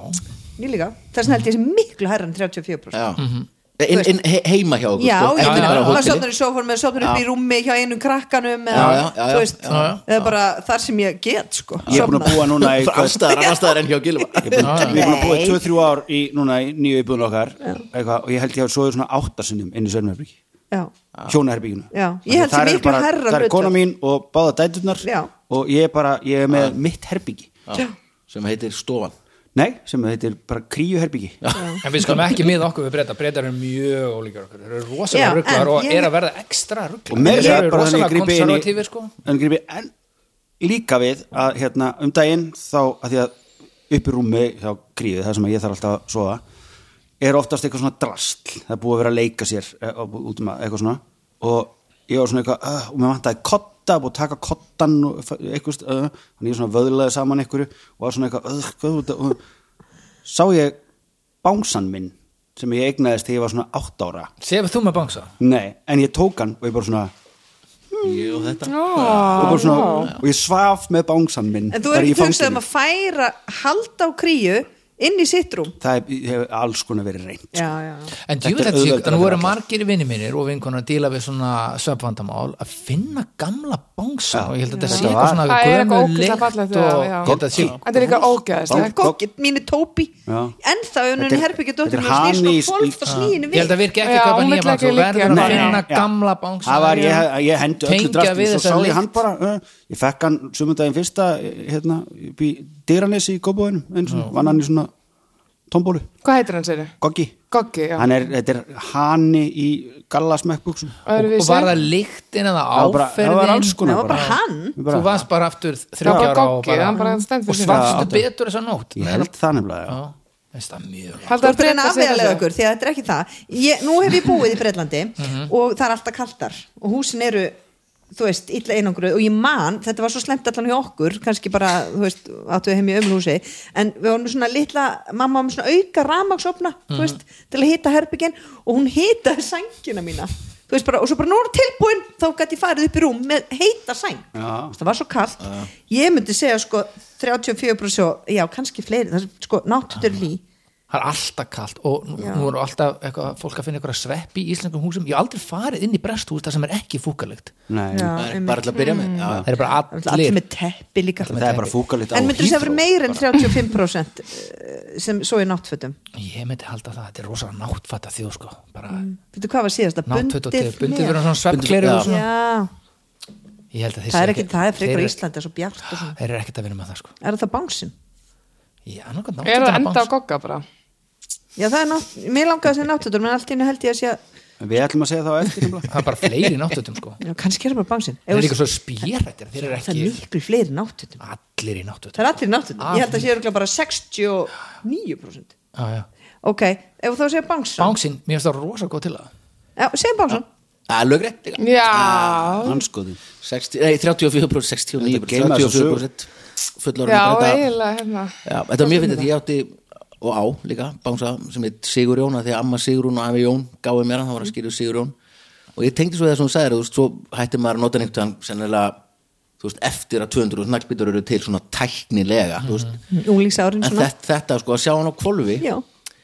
Ég líka, þess vegna held ég sem miklu herran 34%
já.
Mhm.
In, in, he, heima hjá okkur
Já,
sko,
ég
ekki
meina,
bara á
maður
hóteli.
sofnar í sófanum eða sofnar upp í rúmi hjá einum krakkanum eða,
Já, já, já, já.
þú veist,
Já, já.
eða bara þar sem ég get sko,
Ég er búin að búa núna í
Frá
hvað-
allstaðar, allstaðar en hjá Gilva Ah,
Við erum búin að búa í 2-3 ár í, núna í nýju íbúðun okkar eitthvað, og ég held ég að svoðu svona áttasinnum inn í Sörnverbriki
Já,
hjónaherbygginu
Já, ég held
Það
sem
er
miklu
bara- það
hærra
er
hlutfall.
kona mín og báða dæturnar
Já.
og ég er bara, ég er með mitt herbyggi
sem heitir Stofan
nei, sem heitir bara kríuherbyggi
en við skulum ekki miða okkur við breytar breytar eru mjög ólíkar okkur þeir eru
Já,
rosalega
en
rugglaðir og
ég-
er að verða ekstra
og með
rugglaðir
þess
Þeir
að
eru
bara þannig
rosalega
gripi inn í
konservatífir sko
en gripi en líka við að hérna um daginn þá að því að upp í rúmi hjá kríu það sem að ég þarf alltaf að sofa er oftast eitthvað svona drastl það er búið að vera að leika sér eh, og bú- út um að eitthvað svona og ég var svona eitthvað uh, og mér vantaði kotta búið að taka kottan og fa- eitthvað uh, þannig ég svona vöðlaði saman einhverju og var svona eitthvað uh, hvað, út að- uh, sá ég bánsan minn sem ég eignaðist þegar ég var svona átt ára
Sefur þú með bangsa?
nei, en ég tók hann og ég bara svona
Jú, þetta
og, bara svona, og ég svaf með bángsan minn
en þú
bara
er
í
ekki hugsað
fanginu.
um að færa halda á kríu inn í sitt rúm
það hef- hefur alls konar verið reynd
já, já, já.
En
Þetta er
djúvilega tík,
auðveldara
þannig voru
fyrir alla.
margir vinni mínir og vinkonar að díla við svona svefvandamál að finna gamla bangsa og ég held að þetta sé
Þetta
eitthvað
var-
svona
Það er eitthvað
gömul
ógeðslega
lykt
fallegt við
og
það,
ég
já.
held að sé
Þetta er líka ógæðislegt
Goggi, mínu tópi
Já.
en það er
Þetta
unnum
er-
herbyggja dóttir
þetta er
mér snýst
hani í-
og hvolft og snýinu
Ég held
við
að virki ekki
Já,
að kaupa
hún
nýja
vill ekki
bangsa og
liggja
verður að
hérna.
finna
Nei, já.
gamla bangsa
það var, ég, ég hendi öllu
Tengja
drastið
við
svo
þessa
sá ég
lykt.
hann bara uh, ég fekk hann sumundaginn fyrsta eh, hérna, upp í dyranesi í Kópavöðinu eins og vann hann í svona tombólu,
Hvað heitir hann sér?
goggi
Goggi, já
hann er, þetta er hanni í gallasmekkbuksum
og, og var það lyktin eða
Það var bara- það var alls
áferðin
konar
það var bara hann
þú varst bara aftur þrjókjara
bara Goggi, hann bara stendur
og
fyrir
svafstu
sínu.
betur þessa nótt
ég held það nefnilega já.
Já, veist það mjög vel.
Þú
Haldar
ert að Sko, reyna að afvegalega okkur, því að þetta er ekki það ég, Nú hef ég búið í Breitlandi og það er alltaf kaltar og húsin eru þú veist, illa einangruð og ég man þetta var svo slemt allan hjá okkur, kannski bara þú veist, áttu við heim í ömulhúsi en við vorum með svona litla, mamma var með svona auka ramagsopna, þú veist, til að hita herbyggin og hún hitaði sængina mína þú veist bara, og svo bara nú er tilbúin þá gæti ég farið upp í rúm með heita sæng
Já.
það var svo kallt ég myndi segja sko 34% og- já, kannski fleiri, það er sko náttutur lí
það er alltaf kallt og nú nú eru alltaf eitthvað, fólk að finna eitthvað sveppi í íslenskum húsum ég hef aldrei farið inn í bresthús það sem er ekki fúkalegt
Nei,
Já,
Það er
einmitt.
bara til að byrja með já.
það er bara
allir,
allir
með teppi líka
það er bara fúkalitt á
en myndur þess að vera
Heathrow.
meir en 35% eh, sem svo í náttfötum
ég myndi halda það, þetta er rosalega náttfætta þjóð sko bara
veitu hvað var síðast að
náttfætta
bundið
og bundið fyrir
með
svona sveppkleri
Bundið-
og svona
já,
ég held að þeir
það
séu
er ekki, það er frekar
þeir-
á Íslandi svo bjart og svona,
þeir eru ekkert að vinna með það sko
er það bánsin
ég er annað
Er það enda á
náttfætta
Gogga bara?
já það er nátt, mér langaði þessi náttfötum en allt í henni held ég að sé að,
við ætlum að segja það á eftir nefnilega.
það er bara fleiri náttfættum sko
já, kannski er það bara bánsin
þeir eru líka svo spjérættir þeir eru
það er
ekki
miklu fleiri náttfötum
allir í náttfættum
það er allir náttfötum, ég held að sé örugglega bara 69% ok, ef þú segir bánsin
bánsinn, mér finnst það rosalega góð til það
já, segir bánsin,
Það er lögrétt líka
Já,
hann sko því
60 nei, 34% 69%
Þetta geyma þessa sögu.
34% fullorðin
já,
þetta,
eiginlega hérna.
já, þetta var mjög fyndið því ég átti og á líka bánsa sem heit Sigur Jón af því að amma Sigur Jón og afi Jón gáði mér hann
Mhm.
þá var að skýra Sigur Jón og ég tengdi svo það sem hún sagði þú veist, svo hætti maður að nota neitt hann sennilega þú veist, eftir að 200 naglbítur eru til svona tæknilega þú veist,
úlíksárin
en
Mhm. svona
þetta, þetta sko að sjá hann á kvolfi
já,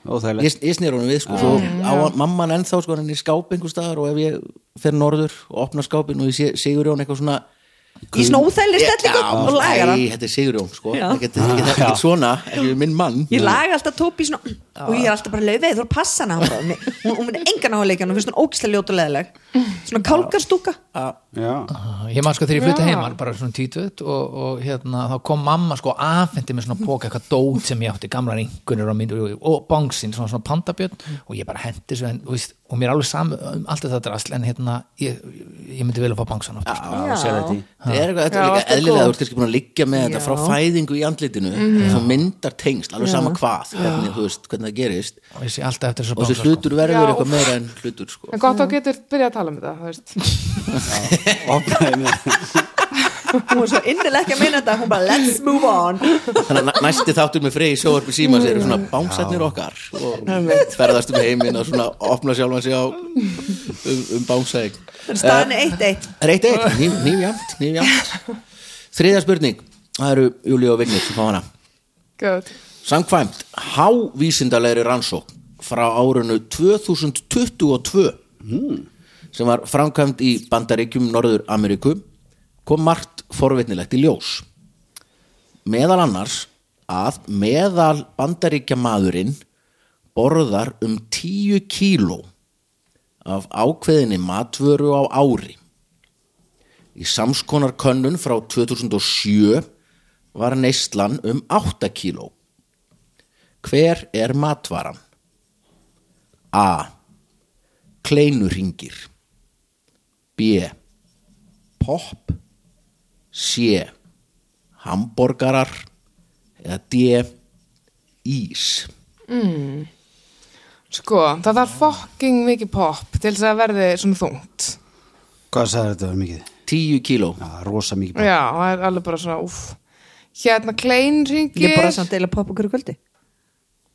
óþægilegt
ég, ég snýr honum við sko, svo á hann, mamman ennþá sko hann er í skáp einhver staðar og ef ég fer norður og opna skápin og ég sé Sigurjón eitthvað svona
í svona óþægileg stellingu
Já,
og lagar hann
nei, þetta er Sigurjón sko
Já.
ekkert ekkert- ekkert svona, ekki minn mann
ég laga alltaf tópi svona og ég er alltaf bara leiðið, þú er að passa hana bara, hún, hún, hún er engan á að leika, hún finnst hún ógislega ljót og leðileg svona kálkarstúka
Já.
Ég man sko þegar ég flutta
Já.
heimann bara svona títut og, og hérna þá kom mamma sko afhendi með svona póka eitthvað dót sem ég átti gamla ringunir og, mynd, og, og bángsinn svona, svona pandabjörn og ég bara hendi svo en, og, veist, og mér er alveg saman um allt þetta drasl en hérna ég, ég myndi vel að fá bángsann aftur sko.
Já, sér þetta í.
þetta er eitthvað, þetta
Já,
er líka
alltaf
eðlilega
góð.
þú ert kannski búin að liggja með þetta
Já.
frá fæðingu í andlitinu þá myndar tengsl, alveg sama hvað hvernig, þú veist, hvernig það gerist
og ég sé alltaf eftir þessu
og þessi
bángsann sko.
hlutur verður
Já.
eitthvað meira en hlutur sko
En gott þá getur byrjað að tala um þetta, þú veist
Opnaði mig.
hún er svo innilega ekki að minna þetta hún bara let's move on
þannig að næ- næsti þáttur með frey sjóarpi símas eru svona bánsatnir okkar og ferðast um heiminn og svona opna sjálfan sig á um, um bánsæk
staðan
Eh.
er 1-1
reyt eitt, nýfjamt, nýfjamt þriðja spurning það eru Júli og Vignir sem fá hana
Good.
samkvæmt hávísindalegri rannsókn frá árinu 2022 sem var framkvæmt í Bandaríkjum Norður Ameríku kom margt forvitnilegt í ljós meðal annars að meðal Bandaríkja maðurinn borðar um 10 kíló af ákveðinni matvöru á ári Í samskonar könnun frá 2007 var neyslan um 8 kíló. Hver er matvaran? A. Kleinuringir B. Pop C. Hamborgarar eða D. Ís
Sko, það þarf fucking mikið pop til þess að verði svona þungt
hvað sagði þetta var mikið?
10 kíló
Já, rosa mikið
Já, það er alveg bara svona, úff Hérna Klein ringir
ég bara samt eila popp okkur í kvöldi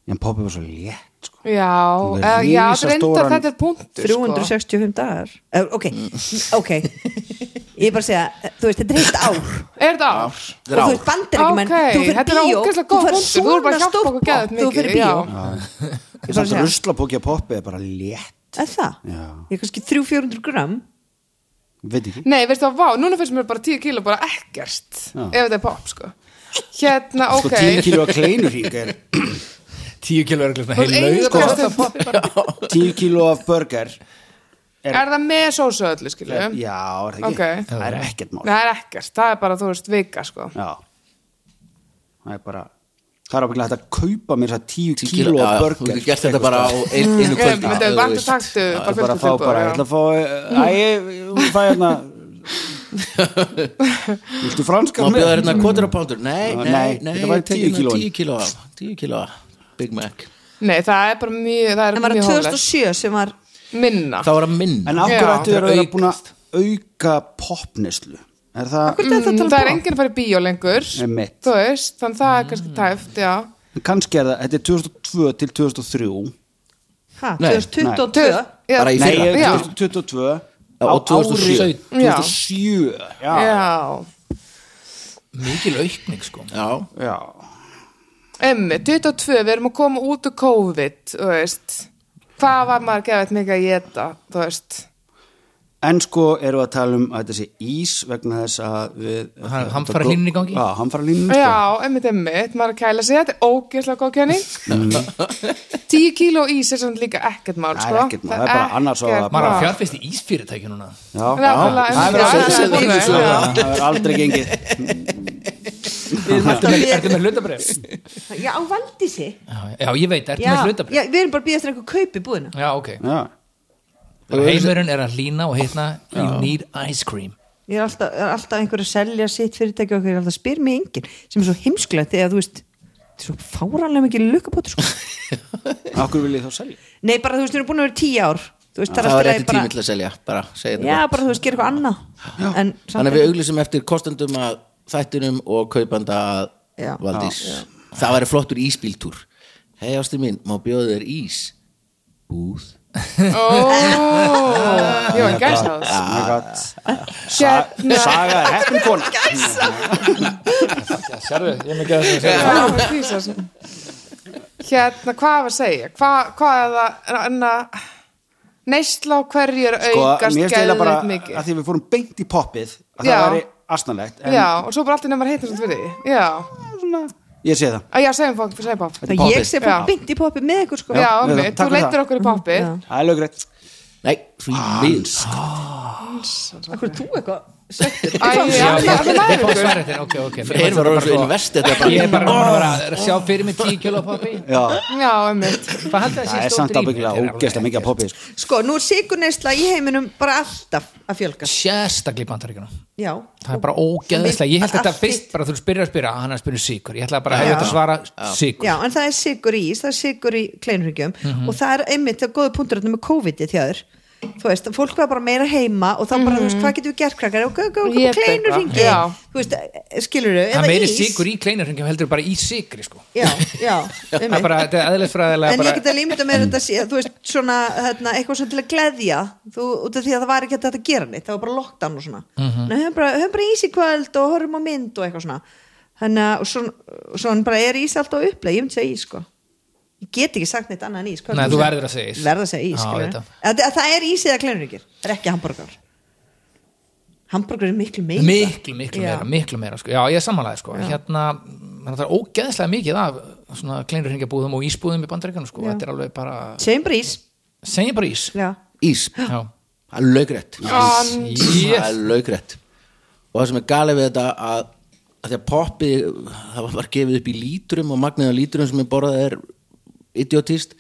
en poppi var svo létt sko.
Já,
Hún er
eða, já
risastóran-
sko.
sko.
reyndar þetta er punktur
365 dagar Eh, ok, ok ég er bara að segja, þú veist, þetta er heilt ár
Er þetta ár?
Þetta er
og þú
ár.
veist, bandar ekki menn
Ok,
þú fyrir
þetta er
bíó,
ógeðslega
þú
góð
fyrir
punktur, þú erum bara
svona
að hjálpa
stórt
okkur geðveikt
popp, þú
mikið,
fyrir bíó ég er bara að
Samt
segja,
ruslapóki að poppi er bara létt
er það?
Já.
ég er kannski 300-400 gram
Veit ekki
Nei, veistu það, vá, núna finnst mér bara 10 kíló bara ekkert
Já.
Ef þetta er pop, sko Hérna,
Sko
ok
10 kíló að kleinur hring er
10 kilo er ekki svona
Þú
heil
eigið
sko.
laug
bara stund.
10 kíló af burger
Er það með sósu öllu,
Já,
skilju?
er það ekki
Ok.
Það er ekkert mál
Það er ekkert, það er bara, þú veist, vika, sko
Já Það er bara Það er ábyggilega hægt að kaupa mér það 10
kíló,
kíló
já,
af
já,
burger
Þú getur gert þetta bara á ein, einu
Ég
kvöldi
myndi
ef þú
vandu
veist.
taktu
Það er bara
bara
að fá bara, ég ætla að fá eh, Æ, ég- hún fæ hérna Viltu franskar
Má
með?
bjóða þér hérna kvotur á pándur Nei,
Nei,
nei, nei,
þetta var
ég tek
10
hérna
kílóin.
10 kíló af, 10 kíló af Big Mac
Nei, það er bara mjög, það er
en var
mjög
það
hóðlegt
2007 sem var
Minna
Það var að minna
En af
Já,
hverju
þetta
ættu þér
er
að vera
aukast.
búin að auka popneslu? Er það,
Akkur- Þetta er
Mm,
talað
Það er
bra.
enginn að fara í bíó lengur
Einmitt.
Þú veist, þannig það er kannski tæft, já
kannski er það, þetta er 2002 til 2003
ha,
Nei.
2022
Já,
Bara í
Nei,
fyrra.
ég-
Já.
2022
Já,
á
og 2007.
ári- 2007 Já,
Já,
já,
mikil aukning sko
Já,
já.
emmi, 22, við erum að koma út úr COVID, þú veist Hvað var maður gefið mikið að geta, þú veist
En sko erum við að tala um að þetta sé ís vegna þess að við
Hann- hamfarahlýnun í gangi?
Já, hamfaralínin sko.
Já, emmitt, emmitt, maður er að kæla sig, þetta er ógeðslega góð kenning 10 kíló ís er samt líka ekkert mál,
Það er
sko
ekkert mál, það er bara annars á að-
ekkert
maður er
mál.
að fjárfæst í ísfyrirtæki núna
Já,
Já, nákvæmlega,
það er verið
já,
að segja
já,
þig
já.
svo Það er aldrei gengið
við erum alltaf að
ertu
bíða
með hlutabref
já, valdi sig
já, ég veit, ertu
já,
með
já,
hlutabref
við erum bara að bíða eftir einhver kaup í búðina
já, ok,
Já,
heimurinn er að lína og hitna you need ice cream
ég er alltaf, er alltaf einhver að selja sitt fyrirtæki og okkur er alltaf að spyr mig enginn sem er svo heimsklegt þegar þú veist þetta er svo fáranlega mikið lukkapott sko.
okkur vil ég þá selja
nei bara þú veist, við erum búin að vera í tíu ár þú veist, það er
það var
alltaf
rétti
bara,
tími til að selja Bara segja þetta
já,
bara.
bara þú veist, gera eitthvað annað en samt
Þannig að við auglýsum eftir kostendum að þættinum og kaupanda að
Já.
Valdís Það væri flottur ísbíltúr Hei ástu mín, má bjóða þér ís Búð
Ó, ég var gæst á
Oh my god.
Hérna,
Saga er heppin kona
sérðu, ég er með gæða þess
Já, það er krísa, sko. hérna, hvað var að segja? Hva, hvað er það, enna, neysla á hverju er
sko,
aukast
mér stila bara
geðveikt mikið?
að því við fórum beint í poppið
Já.
að það væri asnalegt en
Já, og svo bara allt í nefnir heitir svona fyrir því. Já,
ég sé það
Að já, segjum fólk, segjum fólk.
það
poppið.
ég sé
Já.
bara bynd í poppi með ykkur sko.
Já, já
við-
mitt, þú
takk fyrir
leitur
það.
okkur í poppið.
Já.
það er lögrétt
Nei, því
Ah,
miðs
akkur þú eitthvað settur
Æ, já, það er
ég
nærið
fá
ykkur.
svarið þér, ok, ok mér
Þeir
fannst
var
þetta
orðið svo
bara
invest Þetta er
sko- ég er
bara
bara búin að vera að sjá fyrir mig 10 kilo poppi
Já,
Já, mitt.
hvað haldið að sé
það er
stórt
samt
rými? Þetta
ábyggilega
er alveg
ógeðslega mikið að
ekkert.
poppið sko.
sko, nú er sigurneysla í heiminum bara alltaf að fjölga
sérstaklega í bandaríkjunum
já,
það er bara ógeðslega, ég held
Allt
þetta fyrst
hitt.
bara þú spyrir að spyrja, að hann er að spyrja sigur ég ætla bara að hefja þetta að svara sigur
já, en það er sigur í ís, það er sigur í kleinryggjum
Mhm.
og það er einmitt það er góða punktur þarna með COVID-ið þjáður þú veist, fólk var bara meira heima og þá bara, þú
Mhm.
veist, hvað getum við gert krakkar og
Éta eitthvað.
kleinurringi,
Já.
þú veist skilur við,
það
eða
er meiri
ís
sigur í kleinurringjum heldur bara í sigri sko.
já, já,
það er
einmitt
bara, þetta er eðlisfræðilega
en ég get
bara,
að límita mér þetta sé, þú veist, svona hérna, eitthvað svona til að gleðja þú, út af því að það var ekki hægt að þetta gera neitt það var bara lockdown og svona mm
Mhm.
-hmm. höfum bara, höfum bara ís í kvöld og horfum á mynd og eitthvað svona þannig að og svona, og svona bara er ís alltaf á upplega, ég myndi segja ís sko ég get ekki sagt neitt annað en ís hvað
Nei,
er
þú
segir?
verður að segja ís.
verður að segja ís
Já,
skilurðu.
þetta.
að, að það er ís eða kleinurikir, það er ekki hambúrgar hambúrgar er miklu meira
miklu, miklu
Já.
meira, miklu meira sko. já, ég er sammálaði, sko. hérna það er ógeðslega mikið af svona kleinurringjabúðum og ísbúðum í bandaríkjunum sko. þetta er alveg bara,
segjum bara ís
segjum bara ís
Já.
Ís
já,
Það er laugrætt Það
yes.
er laugrætt Og það sem er galið við þetta að, að Því að poppi, það var bara gefið upp í lítrum Og magnið á lítrum sem ég borðað er Idiotist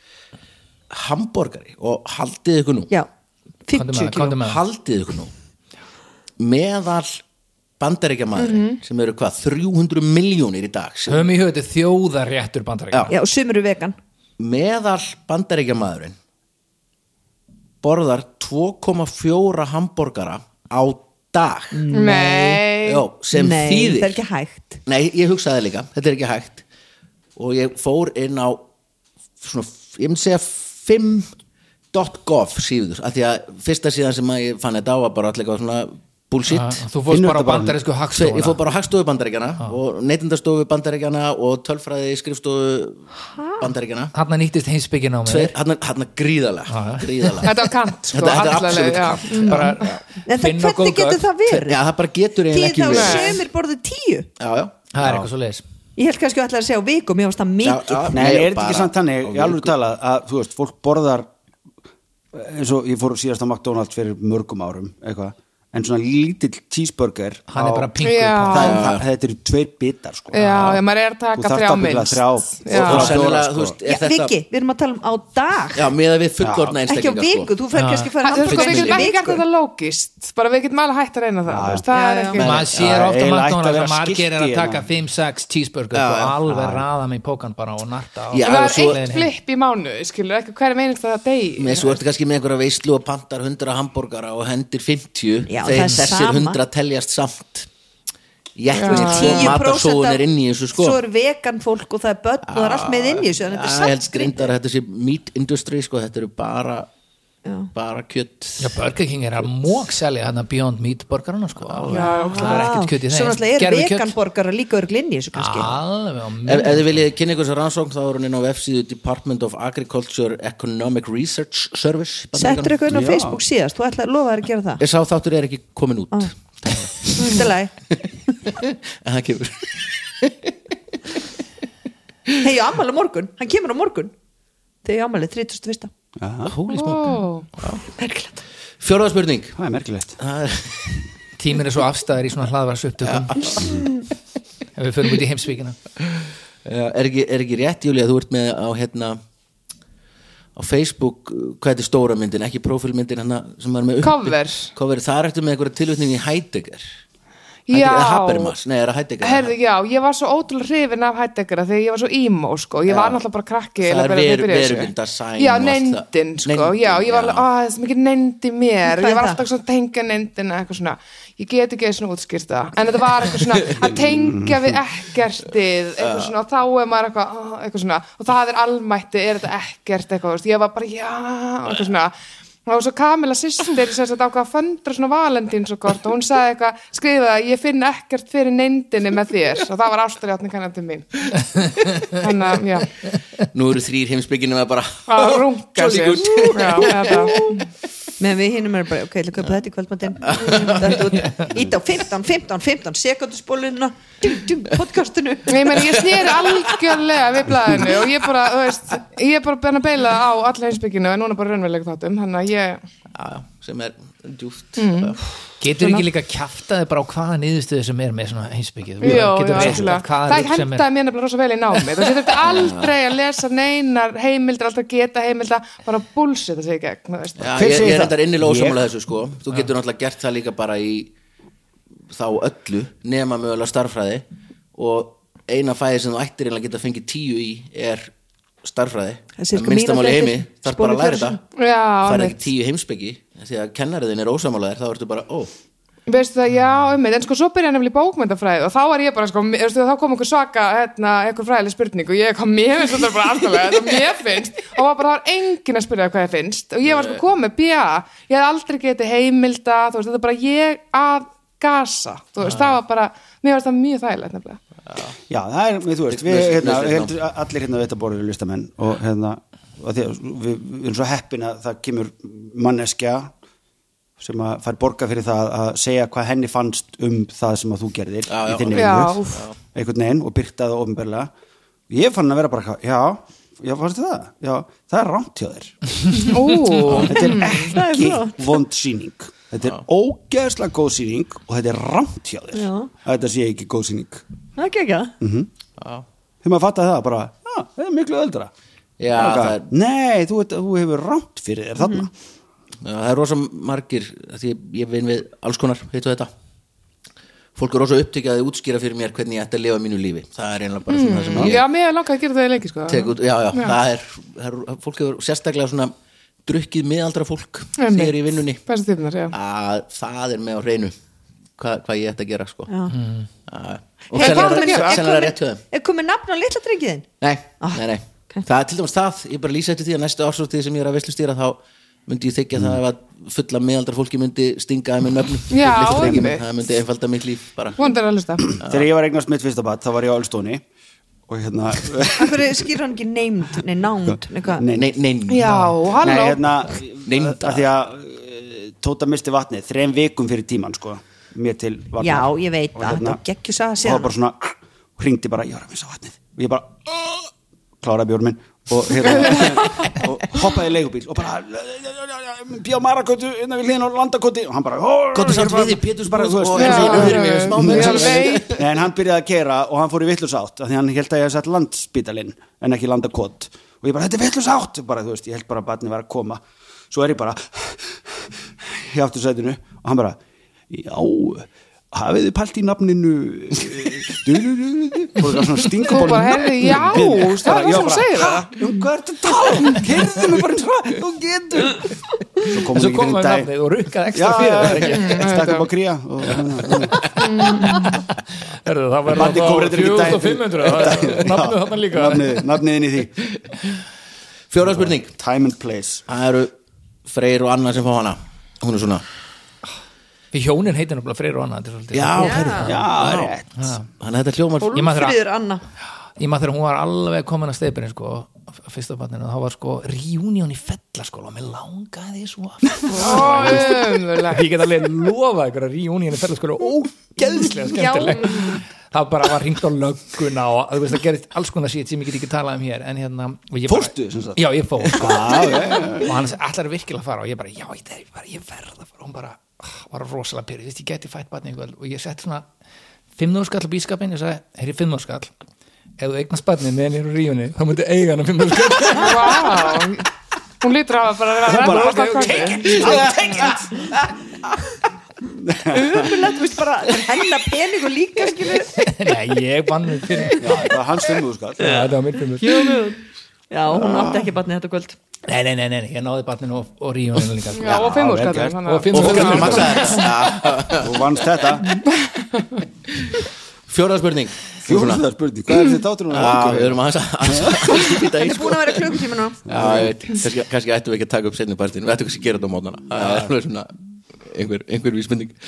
Hamborgari og haldið ykkur nú
já,
Komdu með
50
það, komdu
kíló
með það.
Haldið ykkur nú Meðal bandaríkjamaðurinn
Mhm.
Sem eru hvað, 300 miljónir í dag sem
höfum í höfðu þjóðaréttur bandaríkjunum
já, og sumur eru vegan
meðal bandaríkjamaðurinn borðar 2,4 hambúrgara á dag
Nei.
Jó, sem
nei,
þýðir
það er ekki hægt
Nei, ég hugsaði líka, þetta er ekki hægt og ég fór inn á svona, ég myndi segja 5.gov síður, af því að fyrsta síðan sem að ég fann þetta á var bara allir eitthvað svona bullshit
Ah, Þú fórst
Finnur
bara á
þetta bara.
bandarísku
Sve, ég
hagstofa
fór bara á hagstofu bandaríkjana og neytindastofu bandaríkjana og tölfræði skrifstofu bandaríkjana
Þarna nýttist heimsbyggin á mér
hann er gríðalega, gríðalega.
Þetta var kant sko,
Þetta- þetta er
alla leið,
absolutt
já.
kant.
Mm.
bara
En það,
finna góð
hvernig getur
gögn.
það verið?
Já, það bara getur
Því
eiginlega ekki
þá
verið
sömur borðið tíu
já, já.
Það er eitthvað svo leiðis
Ég held kannski að ætla að segja á vikum, ég varst það
Já,
mikið
já,
Nei,
ég
er þetta
bara-
ekki samt
á
þannig, ég alveg
viku.
tala að, þú veist, fólk borðar eins og ég fór síðast á McDonalds fyrir mörgum árum, eitthvað en svona lítill cheeseburger
Hann
á-
er bara pingu
Já.
upp á-
það, það, þetta eru tveir bitar, sko
Já, já, maður er að taka
Þú þarft
þrjá
ábyggilega
minnst.
þrjá,
Já.
og
og
fjóra,
sennilega, þú
sko.
veist,
Já,
er þetta
Viki, við erum að tala um á dag
já, með að við fullorna
Ekki á
einstaklinga
viku,
sko.
þú fer kannski að fara
Það er sko, við
hamborgara
getum
í
ekki gert
viku.
þetta lógist bara við getum alveg hægt að reyna það þú veist, það
Já,
er
já.
ekki
Maður sér
Já,
ofta
eiginlega ætti að
McDonalds
vera
að margir er að
skilti
taka
hérna.
5-6 cheeseburger
Já,
og
já.
alveg raða mig í pókan bara og narta á.
Já,
En
og
það er
svo-
eitt flip í mánuði, skilur ekki hverjum einast að það degi
með svo ertu kannski með einhverja veislu og pantar 100 hambúrgara og hendir 50
Já, það
þeir
er
þessir
sama.
100 teljast samt jættin sko,
10%
matarsóðun
af-
er inn í þessu sko
Svo er vegan fólk og það er börn og það er allt með inn í þessu en
Já,
þetta
ég
er
held
samt
grindar að þetta sé meat industry sko, þetta eru bara bara kjött
Já, Burger King er að mókselja hérna Beyond Meat borgarana sko alveg. Það
Já,
er ekkert kjött í þeim
Svo náttúrulega er
Gervikjöt.
veganborgara líka örgl inn í þessu kannski
Alveg á
Ef,
minn
ef þið viljið kynna ykkur sér rannsókn þá er hún inn á F-síðu Department of Agriculture Economic Research Service
Settur
Bandaríkjanna.
eitthvað inn á Facebook síðast, þú ætlaði að lofa þær að gera það
Ég sá þáttur er ekki komin út
Þetta er lagi.
en það kemur
Hei, ég á ammali á morgun, hann kemur á morgun Þegar ég á ammali, 31.
Ó.
Merkilegt
Fjórða spurning
það er merkilegt
Það er-
Tíminn er svo afstæður í svona hlaðvars upptökum Ef við förum út í heimsvíkina
Já, er, ekki, er ekki rétt Júli að þú ert með á hérna á Facebook, uh, hvað þetta er stóra myndin ekki prófílmyndin hana sem er með uppbygg-
Cover.
cover, þar ertu með einhverja tilvitning í Heidegger
Já.
Heidegger- Habermas, nei, er það Heidegger
Herðu, já, ég var svo ótrúlega hrifin af Heideggera þegar ég var svo ímó, sko, ég var náttúrulega bara krakki
Það er
eiginlega þegar ég
ver-
byrjaði þessu.
verundar sæn
Já,
og allt það.
neyndin, sko,
Neyndin,
já, ég var
já.
alveg, að það er svo mikið neyndi mér,
Hvað
ég
er
var
það?
alltaf svona að tengja neyndina eitthvað svona, ég get ekki svona útskýrt það, en þetta var eitthvað svona að tengja við ekkertið, eitthvað svona, og þá er maður eitthvað, ah, eitthvað svona, og það er almætti, er þetta ekkert eitthvað, þú veist, ég var bara, já, og eitthvað svona, og svo Kamila sýstir sem sagt ákvað að föndra svona valendins og kort og hún sagði eitthvað, skrifaði ég finn ekkert fyrir neyndinni með þér og það var ástæðjáttni kannandi mín þannig að, já,
nú eru þrýr heimsbygginu að bara
að runga
Jolly
sér
good.
já, þetta
Meðan við hinum erum bara, ok, ég köpa þetta í kvöldmatinn Ít á 15, 15, 15 sekundusbóluna Podcastinu
Ég meina, ég snýri algjörlega við blæðinu og ég bara, þú veist, ég er bara bæna að beila á alla heimsbygginu en núna bara raunverulega þáttum, þannig að ég,
já, já, sem er djúft mm.
Getur ekki líka kjaftaði bara á hvaða niðurstöðu sem er með svona heimsbyggið Þú
Jó,
getur
já,
bara
algjörlega.
sagt hvaða
það
rugl sem er-
hendaði mér nefnilega rosa vel í námi þú veist, ég þurfti aldrei að lesa neinar heimildir, aldrei að geta heimilda bara bullshit að segja gegn þú veist.
já,
Hver
ég,
segir
ég er
það?
þetta innilega
Ég?
ósamlega þessu sko þú getur náttúrulega gert það líka bara í þá öllu nema mögulega starfræði og eina fæði sem þú ættir einlega geta fengið tíu í er starfræði
Það er cirka
minnsta máli í
mínúta
heimi,
eftir
þarf bara að
spólu
læra þetta
já,
það er
einmitt.
ekki tíu heimsbyggi því að kennariðin er ósamálaðir þá ertu bara, ó,
Veistu það, já, um en sko svo byrja nefnilega í bókmyndafræði og þá var ég bara, sko, mér- veistu það, þá kom einhver svaka, hérna, einhver fræðileg spurning og ég kom, mér finnst þetta bara aftalega, þetta mér finnst og var bara, það var enginn að spyrja hvað ég finnst og ég var sko komið, bja, ég hef aldrei getið heimilda, þú veist, þetta er bara ég að gasa, þú veist, það var bara, mér finnst það mjög þægilegt nefnilega.
Já, það er, þú veist, við,
Laus-
hérna,
lauslega.
heldur, allir hérna við þetta borður eru listamenn og hérna, og því, að við, við erum svo heppin að það kemur manneskja sem að fær borga fyrir það að segja hvað henni fannst um það sem að þú gerðir
Já, já.
í þinni
Já,
vinnu,
úff.
einhvern veginn og byrta það ofinberlega. Ég fann að vera bara, eitthvað, já, já, fannst þér það? Já, það er rámt hjá þér.
Ú,
Þetta er
Það er
ekki
flott.
vond síning. Þetta er ógeðslega góð síning og þetta er rámt hjá þér.
Já.
Að Þetta sé ekki góð síning.
Það er ekki ekki
þegar maður fattar það bara, já, það er miklu öldra
Já,
Bara,
það er- Mhm.
nei, þú, ert- þú hefur rámt fyrir þér þarna
Já, það er rosa margir því ég vin við alls konar, heitu þetta fólk er rosa upptekið að þið útskýra fyrir mér hvernig ég ætti að lifa mínu lífi það er einlega bara svona það sem
Mm, já,
ég
mér er langað að gera það í lengi, sko.
tek út já, já, það er, það er, fólk hefur sérstaklega svona drukkið miðaldra fólk
Einmitt.
þegar í vinnunni
Bestu tífnar, já.
að það er með á hreinu hvað, hvað ég ætti að gera sko. Að- og
Hey,
sennilega-
hvað áttu að gera? Er
sennilega
komið-
rétt höfum
Er komið nafn á litla drengiðin?
Nei, nei, nei. Það er til dæmis það, ég bara lýsa eftir því að næstu ársótið sem ég er að veistlustýra þá myndi ég þykja það ef að fulla meðaldra fólki myndi stinga það með nöfnum
Já,
og lyfta þeim.
einmitt.
það myndi einfalda mitt líf bara
Vonandi er að hlusta
þegar ég var eignast mitt fyrsta bat þá var ég á Ölstóni og hérna
Af hverju skýr hann ekki named, nei nánd nei, hvað?
nei, nei, nei,
Já,
Nei,
halló
hérna,
Neynda.
að því að eh, Tóta misti vatnið þreim vikum fyrir tíman sko, mér til vatnið
Já, ég veit það, þetta var geggjuð saga
og
síðan.
það bara svona, hringdi bara, ég var að missa vatnið og ég bara, "Ah!" kláraði bjórn minn og, hérna, og hoppaði í leigubíl og bara bjá marakötu innan við hliðin á landakötu og hann bara, "Ó,
Komdu
ég er
samt
bara-
við í Pétursborg
bara, þú veist,
og-
eins
Já,
og- eins og-
fyrir mér, smá mun.
Ég veit
Nei, en hann byrjaði að kera og hann fór í vittlus átt af því hann held að ég hef sett landspítalinn en ekki landakot og ég bara, þetta er vittlus átt bara, þú veist, ég held bara að barni var að koma svo er ég bara í aftursætinu og hann bara já, hafið þið pælt í nafninu og það svona stinga
Þú bara, heyrðu, já, það er það sem þú segir það.
um hvað ertu að tala, heyrðu mig bara eins og þú getur svo
En svo
komum við
komum við
ekki dag
nafnið og rukkað
já,
ekstra
já,
fyrir það
já,
ekki?
stakk upp á kría og
Herðu, það var
Baddi kom reyndar ekki í dag
4500 það er Nafnið þarna líka
Nafnið, nafnið inn í því
fjóra spurning
Time and place
það eru Freyr og Anna sem fá hana hún er svona
Því hjónin heitir náttúrulega Freyr og Anna þetta er svolítið-
já, herri,
Já, rétt
þannig að þetta hljómar
Ég maður þegar
Friður Anna
ég maður þegar hún var alveg komin að steypinni sko, f- fyrsta barninu, þá var sko reunion í fellaskóla og mér langaði svo aftur.
Ömurlegt.
ég get alveg lofa ykkur að reunion í fellaskóla er ógeðslega skemmtileg það bara var hringt á lögguna og þú veist það gerist alls konar síðan sem ég get ekki talað um hér en hérna og ég bara-
Fórstu, sem sagt?
já ég fór sko.
Já, já, já.
og hann allar virkilega að fara og ég bara, já, ég, ég, bara, ég verð að fara og hún bara, ah, var rosalega pyrr, ég geti fætt batni ykkur og ég sett svona fimmnúrskall á bískapin, ég sagði, herri fimmnúrskall ef þú eignast batni meðan ég er úr rífunni þá myndi eiga hann að fimmnúrskall
Vá Hún lítur á að bara vera
bara,
að
ok, ok.
Umulegt, veist bara, hennar peningur líka skilur
nei, ég vann mér fyrir
Já, það var hans sko. fimmuðu skall
Já, þetta var minn fimmur
Já, hún átti ekki batnið þetta kvöld
nei, nei, nei, nei, nei, ég náði batninu og, og rífunni líka
Já, og
vel gert.
fimmurskallin
og fimmnúrskall
Maxa
maður
þetta.
Þú vannst þetta
fjóra spurning Hún er svona,
Fjóðsöðar spurning, hvað er þetta áttur hún
Já, við erum aðeins að aðeins að spýta í
Þetta er
sko
búin að vera klukkutíma nú
Já, ég veit, kannski, kannski ættum við ekki að taka upp setni partinu, við ættum kannski að gera þetta á mótnana það er alveg svona einhver, einhver vísmynding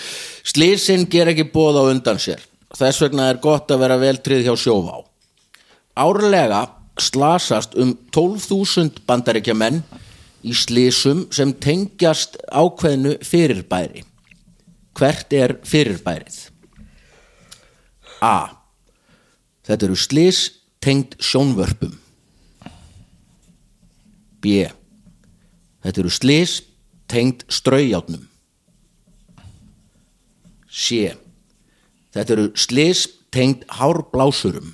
Slysin ger ekki bóð á undan sér þess vegna er gott að vera vel tryggð hjá sjóvá Árlega slasast um 12.000 bandaríkja menn í slysum sem tengjast ákveðnu fyrirbæri Hvert er fyrirbærið? A. Þetta eru slys tengd sjónvörpum B. Þetta eru slys tengd straujáttnum. C. Þetta eru slys tengd hárblásurum.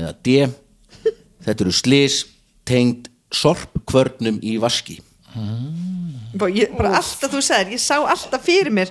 Eða D. Þetta eru slys tengd sorpkvörnum í vaski.
Bara, ég, bara allt að þú sagðir, ég sá alltaf fyrir mér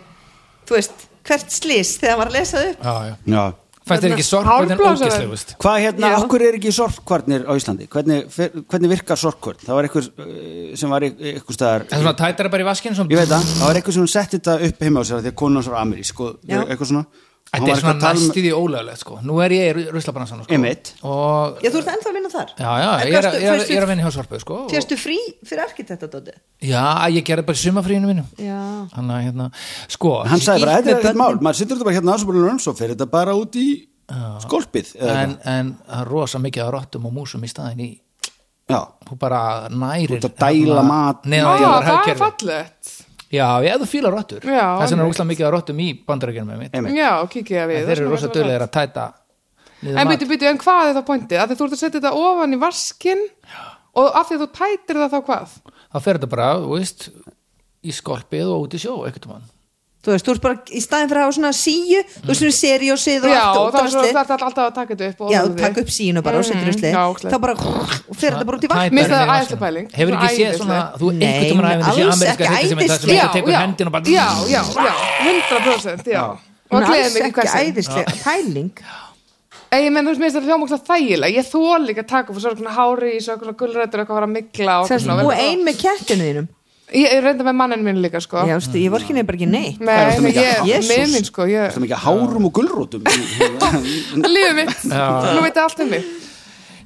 Þú veist, hvert slís þegar maður að lesa það upp
Já
fannst þér ekki sorgvöldin
Hálfblásaður.
ógislegust
Hvað hérna,
Já.
okkur er ekki sorpkvarnir á Íslandi? Hvernig, fer- hvernig virkar sorpkvarn? Það var einhver eh, sem var í- einhver staðar
það er svona tætara bara í vaskinn
Ég
svona-
veit það, það var einhver sem setti þetta upp heima á sér af Því að konan hans var amerísk og
Já.
eitthvað svona Og hann
þetta
var
er svona
eitthvað að tala um-
næstíði ólöglegt sko. nú er ég í ruslabransan sko.
Einmitt.
og
Já, þú ert ennþá að vinna þar
Já, já,
En
ég er,
gastu-
ég er,
fékkstu-
ég er að vinna hjá Sorpu sko, og,
Fyrstu frí fyrir arkitektadóti
Já, ég gerði bara í sumafríinu mínu
Já.
Þannig að hérna, sko
Hann sagði bara, þetta er
skýrt
ekkert
með
mál Maður sittur þetta bara hérna á aðsumbrunum Svo fer þetta bara út í skolpið eða
börn, En, en það er rosa mikið að rottum og músum í staðin í
eitthvað. Já,
Þú bara nærir
Þú ert að dæla mat.
Neðan
Já, Ah, það er
hagkerfi
fallegt
Já, ég eða þú fílar rottur
Já,
Það sem er
einmitt.
úslega mikið að rottum í bandarækjunum með mitt
einmitt
Já, kikið að við
Þeir eru rosa dölir að tæta niður
En
mat.
byrju, byrju, en hvað er það pointið? Að þú ert að setja þetta ofan í vaskin og af því að þú tætir það þá hvað?
Þá fer þetta bara, þú veist Í skolpið og út í sjó, ekkert um mann
Þú veist, þú ert bara, í staðin fyrir að hafa svona síu Þú veist, svona seri og sið og
Já,
allt
og
og
það er svo-
drasli.
það er alltaf að taka þetta upp og
Já,
ofan
þú
í
takk
þig.
upp sínu bara og
Mm,
setur
Mhm,
rusli
já, ógeðslegt.
Þá bara, og fer þetta bara út í vatn
Mér finnst
Tætar niður í
það æðisleg
vaskinn.
pæling.
Hefur ekki séð svona, þú
Æðisleg.
einhvern tímann
Nei,
æfinn þessi
alls
ameríska
ekki
heitir sem er það sem
æðisleg.
þú tekur hendin og bara
já, já, já, 100% já. og það
Hún er
gleði
alls
mig í
ekki
hversin
æðislega pæling
en ég menn þú veist, mér finnst það hljómakslega þægilega ég þól líka að taka fyrir svo svona hári í svo svona gulrætur og eitthvað að vera að mikla og,
Sem-
svona,
Og ein með kettinu þínum
ég er reynda með manninn minn líka sko
Já, veistu, ég vorkinni bara ekki neitt
Nei, nei,
mikið?
ég,
Jesús.
með minn sko ég,
Það mikið hárum og gulrótum
lífið mitt, nú veit það allt um mig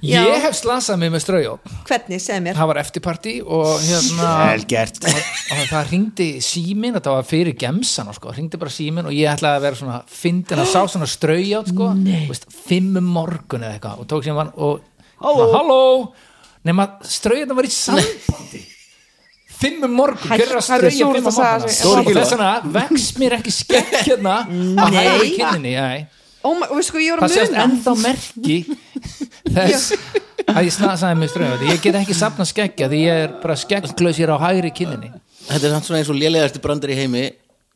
Já.
Ég hef slasað mig með straujóp
Hvernig, segð mér
það var eftirparti og hérna
Vel gert.
og, og það ringdi símin þetta var fyrir gemsan sko, ringdi bara símin og ég ætlaði að vera svona fyndin að sá svona straujátt sko, veist, fimm um morgun eða eitthvað og tók síman og halló, halló. nema straujátt var í sambandi fimm um morgun, hver er að
Hættu,
strauja
súrt
fimm um
að segja
morgun
sig. Sorry,
og
Gylfi.
þess vegna vex mér ekki skekk hérna á
Nei.
hægri kinninni nei
Ó, ma- og sko, ég var
það
að
sést
muna
ennþá merki þess að ég snasaði mig ströðum ég get ekki safna skeggja því ég er bara skegglausir á hægri kinninni
Þetta er samt svona eins og lélegasti brandar í heimi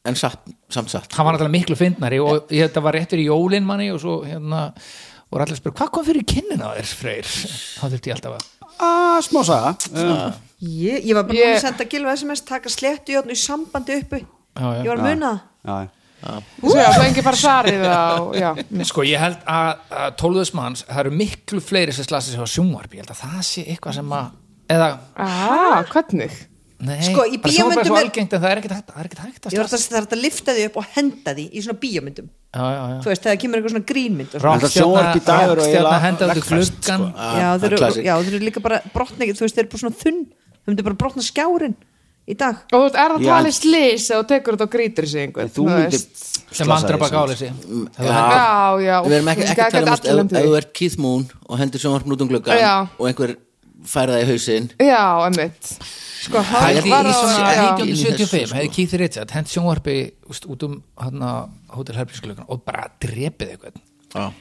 en satt, samt satt
hann var alltaf miklu fyndnari og ég, þetta var réttur í jólin manni og svo hérna voru allir að spyrja hvað kom fyrir kinnina á þér freyr þá þurfti ég alltaf að
að Ah, smá saga um,
ég, ég var bara yeah.
Ég-
að senda Gilva sms taka slettu í sambandi uppu
já.
ég var að muna það
já,
Svo já, svo engi fara sarið á, já
sko ég held að, að tólðusmanns það eru miklu fleiri sem slasið sér á sjónvarpi ég held að það sé eitthvað sem að eða
Aha, hvernig?
nei
Sko, í
bara sjónvarp
bíómyndum
er svo
er-
algengt en það er ekkert hægt, það er ekkert hægt að
ég var
slasa
að það er hægt að lifta því upp og henda því í svona bíómyndum
já, já, já.
þú veist, þegar kemur eitthvað svona grínmynd og svona.
Þetta sjónvarp í dag er
rockstjarna
eiginlega sko.
henda út í
veggfest,
gluggan
já,
Ah,
þeir eru,
classic.
já, þeir eru líka bara brotna ekki, þú veist, þeir eru bara svona þunn þau myndu bara brotna skjárin í dag
Og þú veist, er það
Já.
talið slís og tekur þetta og grítir sig einhvern
þú myndir
veist.
sem andra baka áleysi
Já.
Já, já
Við erum ekki,
ég
ekki að tala um
gat
þú veist,
allan
ef- ef þú
því.
ert Keith Moon og hendur sjónvarpn út um gluggan
Já.
og einhver færa það í hausinn
Já, emmitt Sko,
Það
hann
er
var
í
á
svona-
já.
ekki-
1975 hefði Keith Richard hent sjónvarpi úst, út um hana, Hotel Herbergsglögan og bara drepið eitthvað
Já.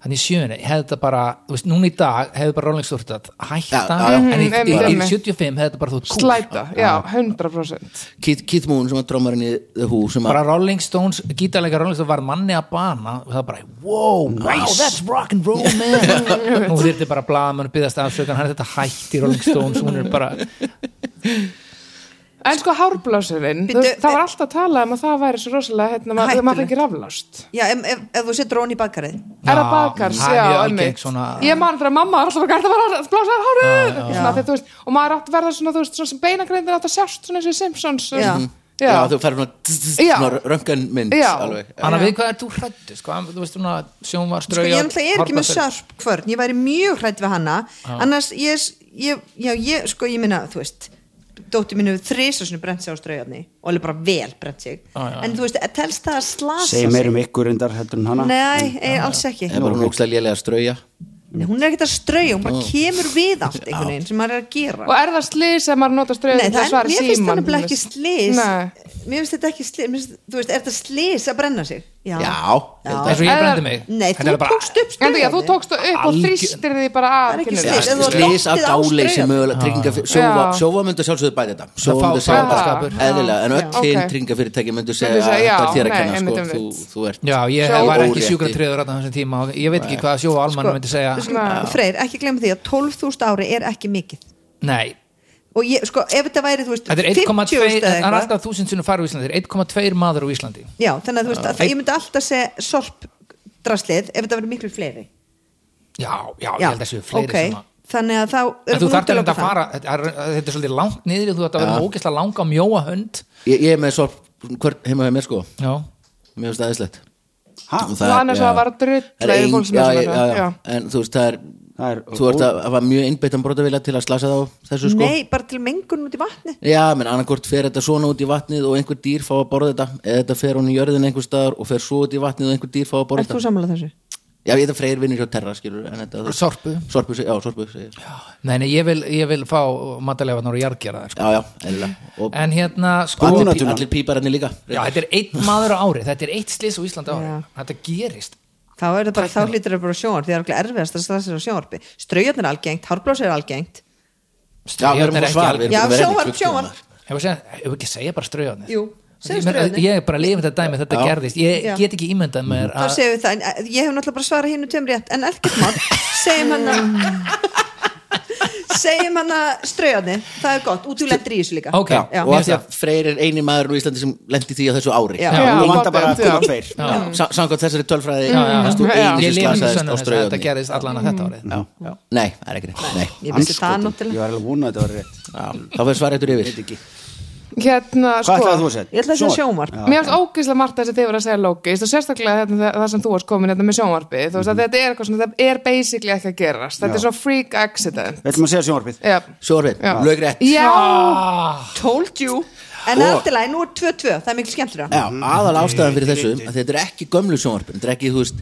hann í sjöunni hefði þetta bara þú veist, núna í dag hefði bara Rolling Stort að hætta
Já, já, já.
en í,
Mhm,
í, í
einmitt.
75 hefði þetta bara þótt kúl
Slæta, já, 100%
Keith, Keith Moon sem var drómarinn í The Who sem
bara
að
Rolling Stones, gítarleika Rolling Stones var manni að bana og það bara, wow, wow, that's rock and roll man nú þyrfti bara blaðamenn að byggðast afsökan, hann er þetta hætt í Rolling Stones hún er bara,
En sko, hárblásirinn, þú veist,
Bíddu,
það var alltaf að tala um að það væri svo rosalega, hérna, ma-
Hættulegt.
maður fengi raflást
já, ef, ef, ef þú setur hon í bakarið
Er það
Já,
bakars,
það er
já,
mjög algeng
emmitt
svona-
Ég man þegar mamma var alltaf að garða var að blása þær hárið Svona, þegar, þú veist, Og maður átt að verða svona, þú veist, svona sem beinagreindir átt að sjást svona eins og í Simpsons
Já.
já,
þú færa svona, tss, tss,
Já.
svona rönganmynd
Já.
alveg
Anna, við hvað er þú hrættu? Sko, þú veist svona sjónvar,
sko,
strauja
ég náttúrulega er ekki með sörp hvern ég væri mjög hrætt við hana annars, ég, s- ég, já, ég, sko, ég minna þú veist, dóttir mínu þrisa svona brent sig á straujarni og alveg bara vel brent sig,
já,
en þú veist, telst það að slasa
segi meir um ykkur endar heldur en hana
Ah, nei, ei, alls ekki
eða bara hún ógstlega lélega að strauja
Nei, hún er ekkert að strauja, hún bara kemur við allt einhvern veginn sem maður er að gera
Og er það slís að maður nota ströðum
Nei,
til að
það er,
svara
mér
síman?
finnst það nefnilega ekki slis
Nei.
Mér finnst þetta ekki slis mér finnst, Þú veist, er þetta slis að brenna sig? Já,
já,
Það er svo ég brendi mig
Nei,
Þetta
þú
er bara-
tókst upp
En þú, já, þú
straujarni.
tókst það upp og
Algjör-
þrýstir því bara
Það
að
er ekki
pinnunni.
slys.
já
Eða
slís
þú dottið
að
á
gáleysi
strauja.
mögulega tryggingafyr- sjónva-
Já.
sjóva myndu sjálfsögðu bæði þetta
Það
sjóva
fá-
myndu segja
fá-
bara
Já.
eðlilega en
Já.
öll hinn
Ok.
tryggingafyrirtæki myndu
Myndu
segja að
segja,
þetta er
já,
þér að
nei,
kenna sko,
einmitt,
þú,
einmitt.
þú ert
Já, ég
Sjó-
var ekki
Órétti.
sjúkratriður þarna á þessum tíma og ég veit ekki hvað sjófa
sko.
almanna myndi segja
Sko, Við skulum- Freyr, ekki glemma því að 12.000 ári er ekki mikið
Nei,
Og ég, sko, ef þetta væri, þú veist,
þetta er 1,2
50.000
Það
eða
er
eitthvað
alltaf þúsund sinnum farið á Íslandi Þetta er 1,2 maður á Íslandi
Já, þannig að þú veist, að ég myndi alltaf segja sorp draslið ef þetta væri miklu fleiri
Já, já, ég held að séu fleiri
ok.
sem að
Þannig að þá erum
En þú
við
þarft
útiloka
að
það.
fara, þetta er- þetta er svolítið langt niður þú þarft að vera ógeðslega langa mjóa hönd
ég, ég er með svo hvern heima hjá mér sko
Já,
mér finnst aðeinslegt
Ha?
Og annars var það bara drull
Það er
yfir
ein-
fólk sem
já,
er svona
já,
eitthvað,
já, já. en þú veist það er,
Það er-
þú ert að að hafa mjög einbeittan brotavila til að slasa það á þessu sko
Nei, bara til mengun út í vatni
já, menn annarkort fer þetta svona út í vatnið og einhver dýr fá að borða þetta eða þetta fer hún í jörðin einhver staðar og fer svo út í vatnið og einhver dýr fá að borða
Ert þú
þetta
sammála þessu?
já, ég þetta freyr vinnur hjá terra skilur en þetta, þú-
sorpu
sorpu, seg- já, sorpu seg-
Nei, nei, ég vil, ég vil fá matalefanar og jargera þær sko.
já, já, eðlilega og
En hérna, sko
allir, pí-
Búnaturinn.
allir pípararnir líka
Já, þetta er einn maður á ári, þetta er eitt slis á Íslandi á ári,
Já.
þetta gerist
Þá er það bara, þá hlýtur það bara sjónvarp því það er okkur erfiðast að stressa á sjónvarpi Straujarnir er algengt, hárblás er algengt
já, við erum
Straujarnir
að
ekki
svara
alveg-
við erum
Já,
búin að vera hérna í
sjónvarp,
20
sjónvarp.
mánuði.
Ef við segja- ef við ekki segja bara straujarnir
Jú, segðu
Ég meina,
straujarnir.
Ég er bara að lifa þetta dæmi, þetta
Já.
gerðist Ég
Já.
get ekki ímyndað mér
Þá
að
segjum við það, en eh, ég hef náttúrulega bara svarað hinn og tveim rétt En ekkert mál, segjum hann Segjum hann að straujarnir Það er gott, út í lendir í þessu líka
Ok,
Já,
Já.
og
mér
að
finnst
því að Freyr er eini maður á Íslandi sem lendi því á þessu ári
Já.
þú
Já,
vantar bara
gott,
að koma
já.
tveir
Já.
Sa- samkvæmt þessari tölfræði
Já, já,
varst þú
Já.
eini
Ég
sem
lifi með
slasaðist
sönnu
á
þess að þetta
strauðunni
gerðist
Mm.
allan að þetta árið
nei, það er ekki rétt nei.
Ég vissi það
Andskotinn.
náttúrulega
ég var alveg vona að þetta var rétt
Já, þá fyrir svarið eftir yfir
Veit ekki.
Hérna,
Hvað ætlaði þú
sko
að segja?
Ég ætla að segja
Sjónvarp?
sjónvarp.
Já.
Mér finnst ógeðslega margt það sem þið voru að segja lókist og sérstaklega þetta, það, það sem þú varst komin þetta með sjónvarpið, þú
Mhm.
veist að þetta er eitthvað svona þetta er basically ekki að gerast, þetta er svo freak accident
Við ætlum að segja sjónvarpið
Já,
Sjórfinn,
Já.
lögrétt
já,
Told you En
Og-
eftir lagi, nú er 2-2, það er mikil skemmtur
Já, aðal ástæðan fyrir þessu að þetta er ekki gömlu sjónvarpin, þetta er ekki, þú veist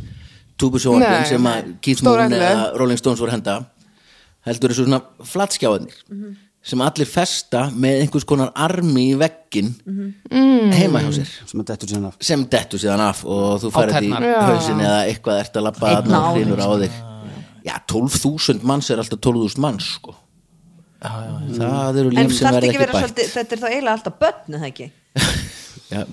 túbusjónvarpin
Nei,
sem að
nei.
Keith
Stór
Moon
ætlaði.
eða Rolling Stones voru að henda heldur þessu svona flatskjáðinir
Mhm.
sem allir festa með einhvers konar armi í veggin
Mhm. Mm.
heima hjá sér
sem að dettur síðan af
sem dettu síðan af og þú farið í
tærnar.
hausin eða eitthvað ert að labba
Einn
þarna og
á
hrinur á þig Já, 12.000 manns er alltaf 12.000 manns sko. Það eru
En
líf sem
þarf
verði
ekki
ekki
vera
bætt
svolítið, þetta er þá eiginlega alltaf börn eða ekki
Já,
Nei,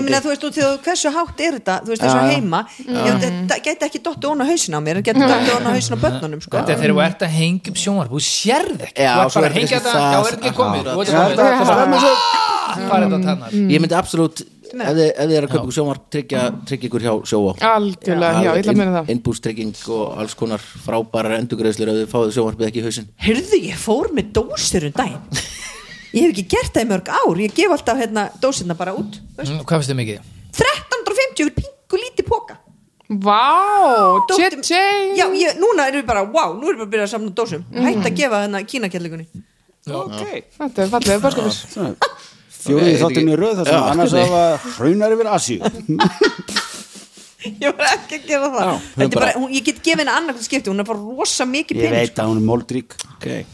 minna,
vonandi
þú veist, og þegar, hversu hátt er þetta þú veist, þessu
Já, já.
heima ég, þetta gæti ekki dottið ón á hausin á mér en gæti dottið ón á hausin á börnunum sko.
Þetta er þegar þú ert að hengja upp sjónvarp Þú sérð ekki,
Já,
þú ert
svo
bara
er
að hengja
kannski
þetta Já,
það-
er ekki
Já,
komið, þú ert
Já,
komið
þetta- þetta er með svo-
Farið þetta tannar
Mm.
Mm.
Ég myndi absolutt, ef þið, ef þið er að kaupa ykkur sjónvarp tryggja, tryggja ykkur hjá sjóa
algjörlega, já, ég ætla að minna það
Innbústrygging og alls konar frábærar endugreðslur ef þið fáið sjónvarpið ekki í hausinn
Heyrðu, ég fór með dósir um daginn Ég hef ekki gert það í mörg ár Ég gef alltaf hérna, dósirna bara út þú veist.
Mm, Hvað finnst þið mikið?
1350 fyrir pingu lítið póka
Vá,
Dóttir-
tjé-tjé
Já, ég, núna erum við bara, wow, nú erum við að byrja að samna dósum Hætt að gefa hérna kínakjallegunni
Þetta er fallið, börskapis
fjóriði
Ok,
þáttunni í röð þar sem
Já,
annars hafa hraunar yfir Asíu
Ég var ekki að gera
Já,
það Þetta er
hún
bara,
bara-
hún, Ég get gefið henni annað skipti, hún er bara rosa mikið
ég
pening
veit að hún er moldrík
okay.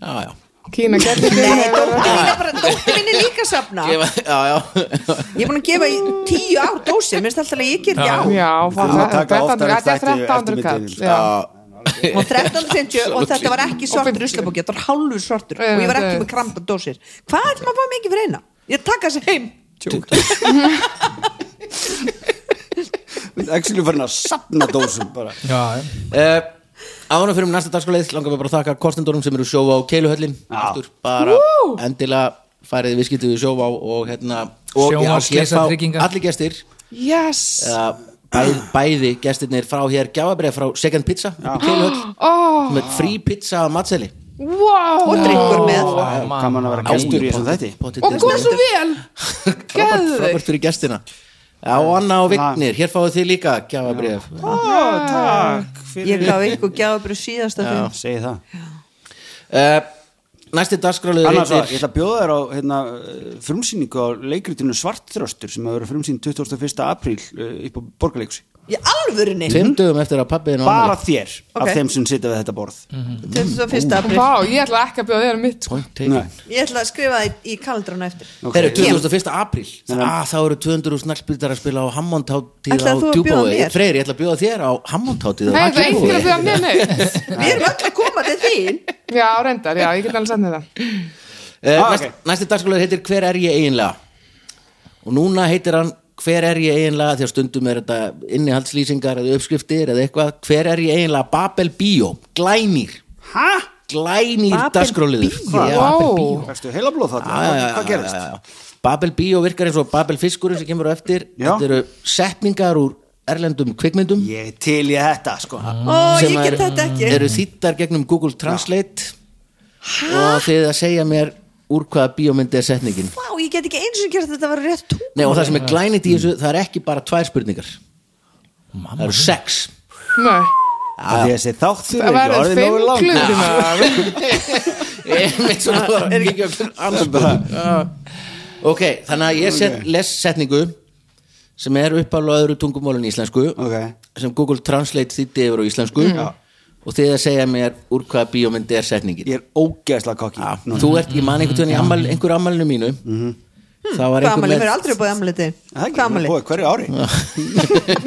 Já, já
Kína gerði
Nei, dóttir mín er bara, dóttir mín er líka að safna
Gefa, Já, já
Ég er búin að gefa í tíu ár dósir Mér finnst alltaf að ég ger ekki á
Já,
þurfum að taka oftar upp
þetta er
þætti
1300
eftirmiðdeginum,
kall já.
og 1350 og þetta var ekki
Og
svartur
fimmtíu.
ruslabóki, þetta var hálfur svartur
Já,
og ég var
þetta
ekki
er-
með kramda dósir hvað ætlum maður að fá mikið fyrir eina? ég taka þessi heim
actually farin að sapna dósum bara
Já,
uh, Ánum fyrir um næsta dagskoleið langar við bara að þakka kostendunum sem eru sjófa á keiluhöllin Aftur bara endilega færið viðskiptið við sjófa og hérna og ég-
Sjónvarpsleysa
ég fá
tryggingar.
allir gestir
Yes
uh, bæð, bæði gestirnir frá hér gjáfabrið frá Second Pizza upp í keiluhöll
oh,
með frí
Ah.
pizza að matseli
Wow
og drikkur með
kannan að vera gæstur í þessum þætti
Og kom svo vel
Frábært
Geðveikt.
frábært fyrir gestina Já, og Anna og Vignir, hér fáið þið líka gjafabrif
Ah, takk
ég gaf ykkur gjáðabrið síðasta þeim
segi það
uh, Næsti dagskráliður
annars að ég ætla að bjóða þér á hérna, eh, frumsýningu á leikritinu Svartþröstur sem hefur verið frumsýning 21. apríl eh, upp á borgarleikusi
í alvörinni
Tveim dögum eftir að pappiðin og
bara þér
Ok.
af þeim sem sitja við þetta borð
21. april
Vá, ég ætla ekki að bjóða þér um mitt sko.
Anna
Nei.
ég ætla að skrifa það í kalendrana eftir
Þeir eru
Ok.
21. apríl ah, Þá eru 200 snarkbyldar að spila á Hammondháttíð á
Ætlar þú að bjóða
Djúbói
mér?
Freyr, ég ætla að bjóða þér á Hammondháttíð
Nei, það er einhver að bjóða mér neitt
við erum öll að koma til þín
Já, reyndar, já, ég get alveg sagt þetta
Eh,
Ah,
næst,
ok.
Næsti dagskólar heitir Hver er ég eiginlega? Og núna heitir hann Hver er ég eiginlega? Því að stundum er þetta innihaldslýsingar eða uppskriftir eða eitthvað Hver er ég eiginlega? Babel Bíó, glænýr
hæ?
Glænýr
Babel
dagskráliður
Bíó?
Vá.
Verstu heila blóð þarna? Hvað- Hvað gerist?
Babel Bíó virkar eins og Babel Fiskurinn sem kemur á eftir
Já.
Þetta eru setningar úr erlendum kvikmyndum
Ég til ég þetta sko
Ah.
ó, ég
sem
get
er-
þetta ekki
eru þýttar gegnum Google Translate og þið að segja mér úr hvaða bíómyndi er setningin
Vá, ég get ekki eins og gert að þetta var rétt tún
Nei, og það sem er glænit
Mm.
í þessu, það er ekki bara tvær spurningar Það eru sex
Nei,
Af Því að þessi þáttur
það
er ekki
verður
orðið
fimm
nógu langt
klukkutíma.
Einmitt
Ah,
svona bara kíkja á hvern annan spurning. Ok, þannig að ég set, les setningu sem er uppálega öðru tungumálun íslensku
Ok. Mm.
sem Google Translate þýtti yfir á íslensku og þið að segja mér úr hvaða bíómyndi er setningin
Ég er ógeðslega kokki
Já,
Núna.
Þú ert, ég man einhvern tíðan í ammal, einhver ammalinu mínu
Mhm.
Það var
hvað
einhver
amali, mér er aldrei búið amali til
Það er ekki,
hvað amali,
búið Hverju ári?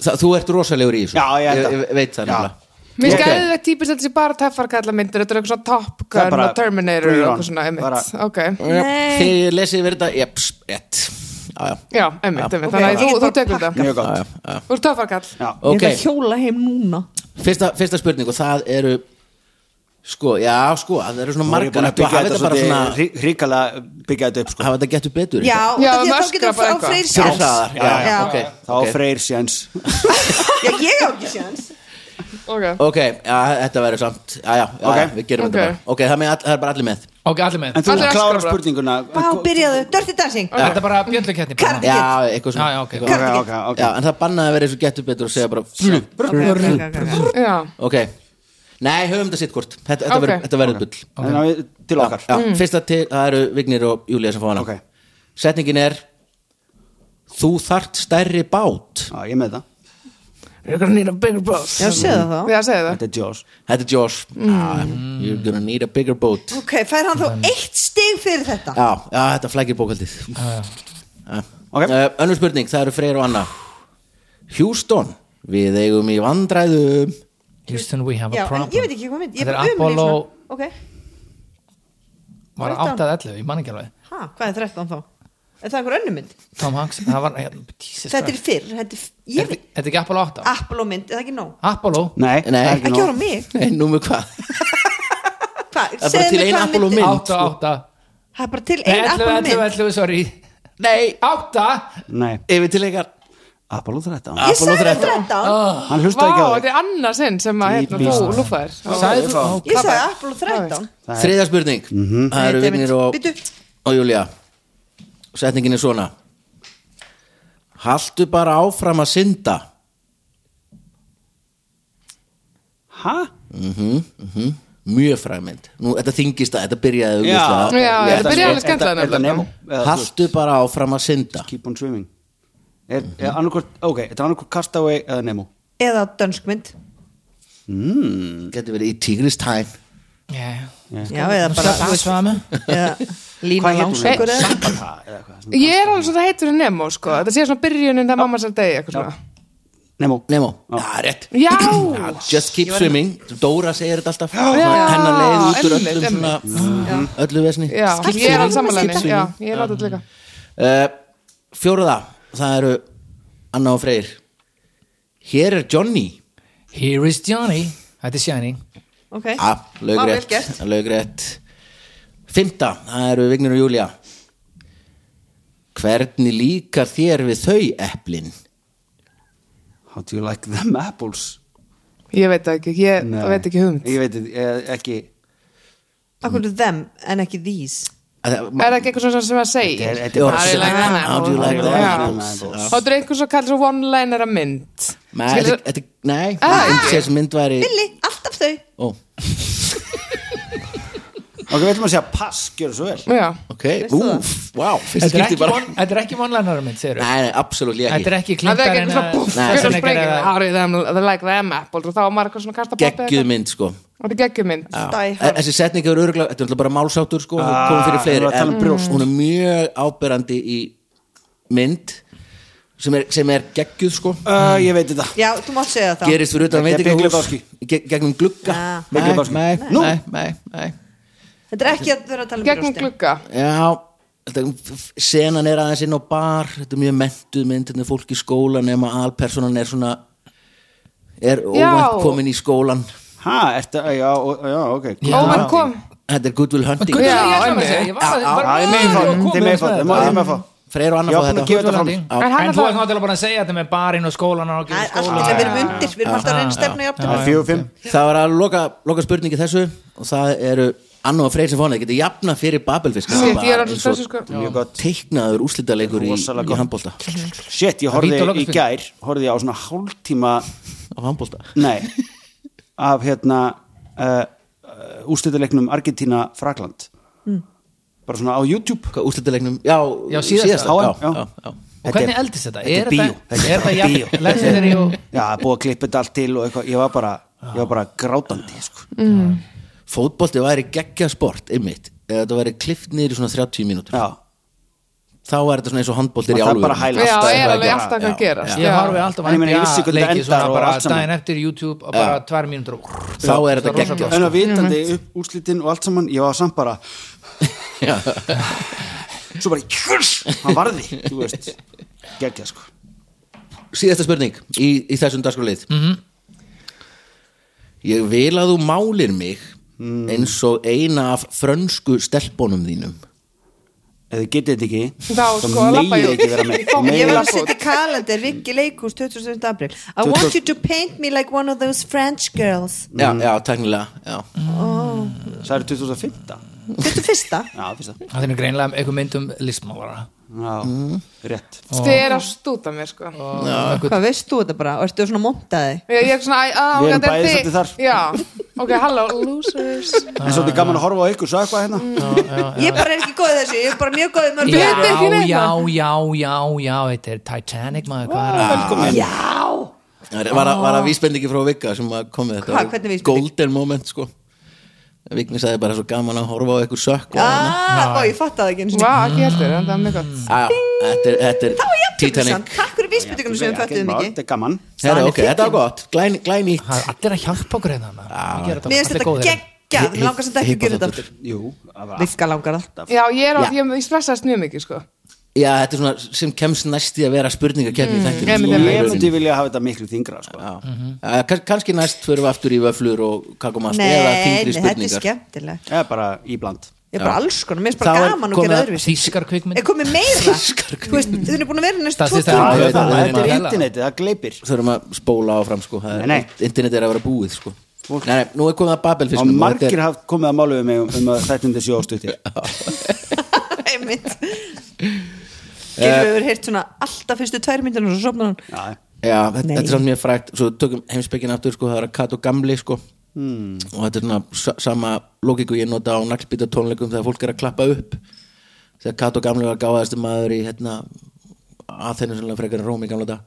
það, Þú ert rosalegur í þessu
Já, ég held að-
ég, ég veit það
Já.
nefnilega Ok.
Mér okay. skæði þetta típist þetta sé bara teffarkalla myndir Þetta er eitthvað svona Top
Það er
Gun
bara
og Terminator og
bring it on.
eitthvað svona
Bara-
einmitt Ok,
Nei.
Þegar ég lesi verið þetta Jeps, ett Já, já,
já, einmitt, einmitt Þannig að
Ok.
þú- þú tekur þetta
Mjög gott
já, já.
Þú ert teffarkall
Já.
ég
Ok,
ætla að hjóla heim núna
fyrsta, fyrsta spurning og það eru Sko, já, sko, það eru svona
Nú er ég
margar
búin
ættu að
að byggja
hafa
þetta
þetta bara svona
svolítið Ríkala byggja þetta upp sko
Hafa þetta getur betur
já, um
eitthvað.
og
Já,
það því að þá
möskra
getur
bara
frá
eitthvað.
freyr
Fyrir
sjálf
hraðar, já, já,
Já,
já.
ok
Þá
ok.
freyr séns
já, ég á ekki séns
Ok,
Ok, já, þetta verður samt Já, já, já,
Ok.
já, við gerum þetta
Ok.
bara Ok, það með all- það er bara allir með
ok, allir með
En þú
Allir
Allir
klára
afskapar.
spurninguna
Vá, byrjaðu, Dirty Dancing
Þetta er bara bjöllukettni
Karl-
Já, eitthvað svona
Já, já, ok.
Eitthvað-
Ok, ok, ok
já, En það bannaði að vera eins og getur betur og segja bara flug.
já,
Ok Nei, höfum þetta sitt hvort Þetta, þetta
Ok.
verður- þetta verður bull
En á við- Til okkar
já, Fyrsta til, það eru Vignir og Júlía sem fá hana
Ok.
Setningin er Þú þart stærri bát
Já, ég er með það
You're gonna need a bigger boss
Já, séð það þá
já, segðu það
Þetta er Jaws
Þetta er Josh mm. You're gonna need a bigger boat
Ok, fær hann þá eitt stig fyrir þetta
Já, já þetta flækir bókaldið
Ok.
okay. Eh, Önnur spurning, það eru Freyr og Anna Houston, við eigum í vandræðum
Houston, we have
Já,
a
en ég
problem
veit ekki hvað mynd ég
Þetta er
bara umlýs
Apollo
svona. Ok,
var 8 að 11, ég man ekki alveg
ha, hvað er 13 þá? Er það einhver önnur mynd?
Tom Hanks, það var Jesus
Þetta er
Christ.
fyrr, þetta er,
Er
ég veit,
þetta ekki Apollo 8
Apollo mynd, er það ekki nóg?
Apollo,
Nei, það er
Ekki
nóg.
ára mig,
Nei, nú með hvað?
hvað,
Það er bara
segðu
til
mér
ein
hvað
Apollo
myndin-
mynd.
8 og 8
Það er bara til
Nei,
ein
11,
Apollo
11,
mynd
11, sorry
Nei,
8
Nei,
yfir til ykkar
Apollo 13
Ég
Apollo
sagði
13.
13
Hann hlustaði ekki á
Ah. Vá,
þig
þetta er annað sinn sem að hérna, þú lúfaðir
Sæðu þú Ó,
Ég sagði
kappa.
Apollo 13
Þriðja spurning, það eru Vignir og,
Býtu,
og Júlía Setningin er svona Haltu bara áfram að synda
Hæ?
Mhm, Mjög frægmynd Nú, þetta þingist að þetta byrjaði augljóslega.
Já,
Ég ætla
þetta
að
byrjaði
segja-
alveg skemmtilega
Er það
nefnilega.
nefn?
Haltu bara áfram að synda
Keep on swimming Er, er annarkvort, ok, þetta er annarkvort Castaway eða Nemo
eða dönskmynd
Gæti verið í Tigris Time
Já,
Já, eða bara þú veist,
Svamu
eða Lína
Hvað hét hún?
Langsokkur eða
Sambata eða eitthvað svona.
Ég er alveg svo það heitur en Nemo sko Þetta sé svona byrjunin þegar mamma sér degi eitthvað svona.
Nemo
Nemo, já, rétt
Já,
Just keep swimming, Dóra segir þetta alltaf
Já,
hennar leið út úr
einmitt,
öllum svona,
einmitt.
mm, öllu vesni
já, ég er
um
alveg samanlegin Já,
uh,
ég er alveg líka
Fjóruða, Eh, það eru Anna og Freyr Hér er Johnny
Here is Johnny Þetta er Shining
Ok,
ah,
Vá, vel
Laugrétt
gert.
Laugrétt Fymta, það eru Vignir og Júlía Hvernig líkar þér við þau eplin?
How do you like them apples?
Ég veit það ekki, ég
Nei.
veit ekki hugmynd
Ég veit þið, eh, ekki
akkur er them en ekki these
Er það ekki eitthvað svona sem að segja?
Þetta er- þetta er
Jó,
bara-
How do you like them
How do you like them apples?
Já.
Það er einhver svo kallar svo one-liner að mynd
Nei,
Skilur-
þetta- þetta- Nei,
Ah,
ég sé sem mynd væri
Billy, alltaf þau
Ó,
Ok, við ætlum að segja pass, gjör svo vel
Já,
ok, úf, vá Fyrst
Þetta er
skipti
ekki
bara
von- þetta er ekki vonlænar mynd, segir
Nei, nei, absolutt
Þetta
ekki
er ekki
það er ekki
klintar
eitthvað svona búf
Nei,
Hver
þetta
er
er
sprengið? How do you them- they like them apples og þá er maður eitthvað svona að kasta poppi
Geggjuð mynd, sko
Þetta er geggjumynd
Já.
Die
En
Hard.
Þessi setning er öruglega, þetta er náttúrulega bara málsáttur sko, ah,
Ah,
komum fyrir
við
fleiri
erum að tala um
en hún er mjög áberandi í mynd sem er, sem er geggjuð sko
uh,
Hmm.
Ég veit þetta
Já, þú mátt segja það
gerist fyrir utan
Þetta er Big
veitingahús
Lebowski.
ge- gegnum glugga
Ah.
Big
nei,
Lebowski.
nei,
Nú.
nei, nei, nei
Þetta er ekki að vera að tala um
Gegnum
brjóstin.
glugga
já, þetta, senan er aðeins inn á bar þetta er mjög mentuð mynd, þetta er fólk í skóla nema alpersonan er svona er óvænt komin í skólan
Hæ, ertu, já, ó- já, ok
Óvan kom
þetta er Goodwill Hunting
Guðjón,
Já,
ég ætla að
einmitt.
segja, ég var að-
Já,
bara-
Það er
Ég var að
meginfátt,
koma
þið
með
meginfátt,
þetta.
þið má- þið meginfátt
Freyr og
Já,
Anna fá
búin að
þetta
gefa þetta fram
En
Já.
En
þú
hann alltaf-
er náttúrulega búin að segja þetta með barinn og skólan og
Nei,
gera
Allt
skólan.
þetta við erum undir, við erum alltaf að reyna stefna
Það er
í aftur
fjögur og fimm
Það var að loka, loka spurningi þessu og það eru Anna og Freyr sem fóna getið jafna fyrir Babelfisk
Shit, ég er alveg stressuð, sko.
Mjög gott
teiknaður úslitaleikur í,
Rosalega
í
gott.
handbólta
Shit, ég
víti á
horfði í
lokaspyrnu.
gær horfði ég á svona hálftíma
á handbólta
nei af hérna uh, úrstættileiknum Argentína Frakland bara svona á YouTube
Hvað úslitaleiknum? Já,
Já, síðasta.
já,
Já.
já, já.
Og hvernig eldist þetta?
þetta er
Er
bíó.
þetta er þetta
bíó.
jafn- legendary og
Já, búið að klippa þetta allt til og eitthvað ég var bara, ég var bara grátandi sko.
Fótbolti væri geggja sport, einmitt eða þetta væri klift niður í svona 30 mínútur
Já,
þá er þetta svona eins og handbóltir í
það er
álugum
bara hæla
Já,
alltaf
er
eitthvað
alveg
að
alltaf
gera.
hvað gerast
Ég
já.
horfi alltaf
En ég meina, ég vissi
NBA
hvernig þetta
leiki
endar
svona
og
bara
allt saman.
daginn eftir YouTube og bara tvær mínútur og
þá er þetta geggja
En að vitandi upp úrslitin og allt saman ég var samt bara svo bara, kjörs hann varði, þú veist geggja sko
síðasta spurning í, í þessum dagskrálið
Mhm.
ég vil að þú málir mig eins og eina af frönsku stelpunum þínum
ef þið getið þetta ekki
Þá, sko,
megið
labba ég
þið
út.
ekki vera
Ég
með Þá megið
Ég
þið
var
Meila
að
fót.
setja í kalendar, Rikki Leikús 27. april I want you to paint me like one of those French girls
já, já, teknilega já.
Það eru 2015
Þetta er fyrsta
Já, fyrst það
Það er nú greinlega eitthvað mynd um listmálara
Já, rétt
Þið er að stúta mér sko
og eitthvað
Hvað veist þú þetta bara? Og ertu svona montaði?
Ég ég er svona, æ, að,
Við erum bæði svolítið þar.
Já, ok, halló, losers
En svolítið gaman að horfa á ykkur, svo eitthvað hérna
Ég bara er ekki góð í þessu, ég er bara mjög góð í mörg
Já,
Veit ekki neitt.
já, já, já, já, þetta er Titanic maður, hvað er það?
Velkomin
Það er- var að, var að vísbendingi frá Vigga sem að kom með þetta
Ah. Hvað, hvernig vísbending?
golden moment sko Vigni sagði bara svo gaman að horfa á eitthvað sökk og annað.
Ah, ó, ég fatt það ekki einu sinni.
Vá, ekki heldur, en það er mjög gott
Já, já, þetta er, þetta
Þá er
er
jafnbjörnsan,
Titanic
takk fyrir vísbyttingunum sem við föttum
Mál,
ekki
Þetta er gaman
Herra,
Hann er
ok, þetta var
fyndinn.
gott, glæn, glænýtt
Það er allir að hjálpa okkur hérna maður. Gera þetta,
Mér finnst
allir
þetta
góðir.
geggjað, mér langar sem þetta ekki að gera
Hippoþáttur.
þetta
Jú, það var
Vikka langar það
Já, ég er á,
Já.
ég, ég stressast mjög mikið sko
Já, þetta er svona sem kemst næst í að vera spurningakefni mm,
einmitt,
í
einmitt.
Ég
þættinum
myndi vilja hafa þetta miklu þingra sko.
Já, Mhm. Eh, kann- kannski næst fyrir við aftur í vöflur og kakumast eða
Nei,
þingri
nei, þetta er
spurningar
skemmtilegt
Eða bara íbland
Ég er bara alls konar, mér finnst bara
Þá er
gaman að
komið
gera
að
öðruvísi
Þýskar
Er
kvikmynd
komið meira? Þú veist, þið erum búin að vera í næstu tvo
Staðfesta- Já,
Það
tíma
ég
er
veit að við erum
það, þetta
að
er
tala.
internetið, það gleipir
þurfum að spóla áfram sko Það er-
Nei, nei.
internet er að vera búið sko Nei, nei, nú er komið að
Og
Babelfiskum
margir hafði komið að málu við mig um- um að þættin þessi óstuttir
Einmitt Gylfi hefur heyrt svona alltaf fyrstu tvær myndinu og svo sopnar hann
Já,
Já, þetta,
Nei.
þetta er samt mjög frægt Svo tökum heimspekin aftur, sko, það er að kat og gamli sko. og þetta er svona sa- sama logíku ég nota á naglbýta tónleikum þegar fólk er að klappa upp þegar kat og gamli var gáðasti maður í hérna, að þennu sannlega frekar en Róm í gamla dag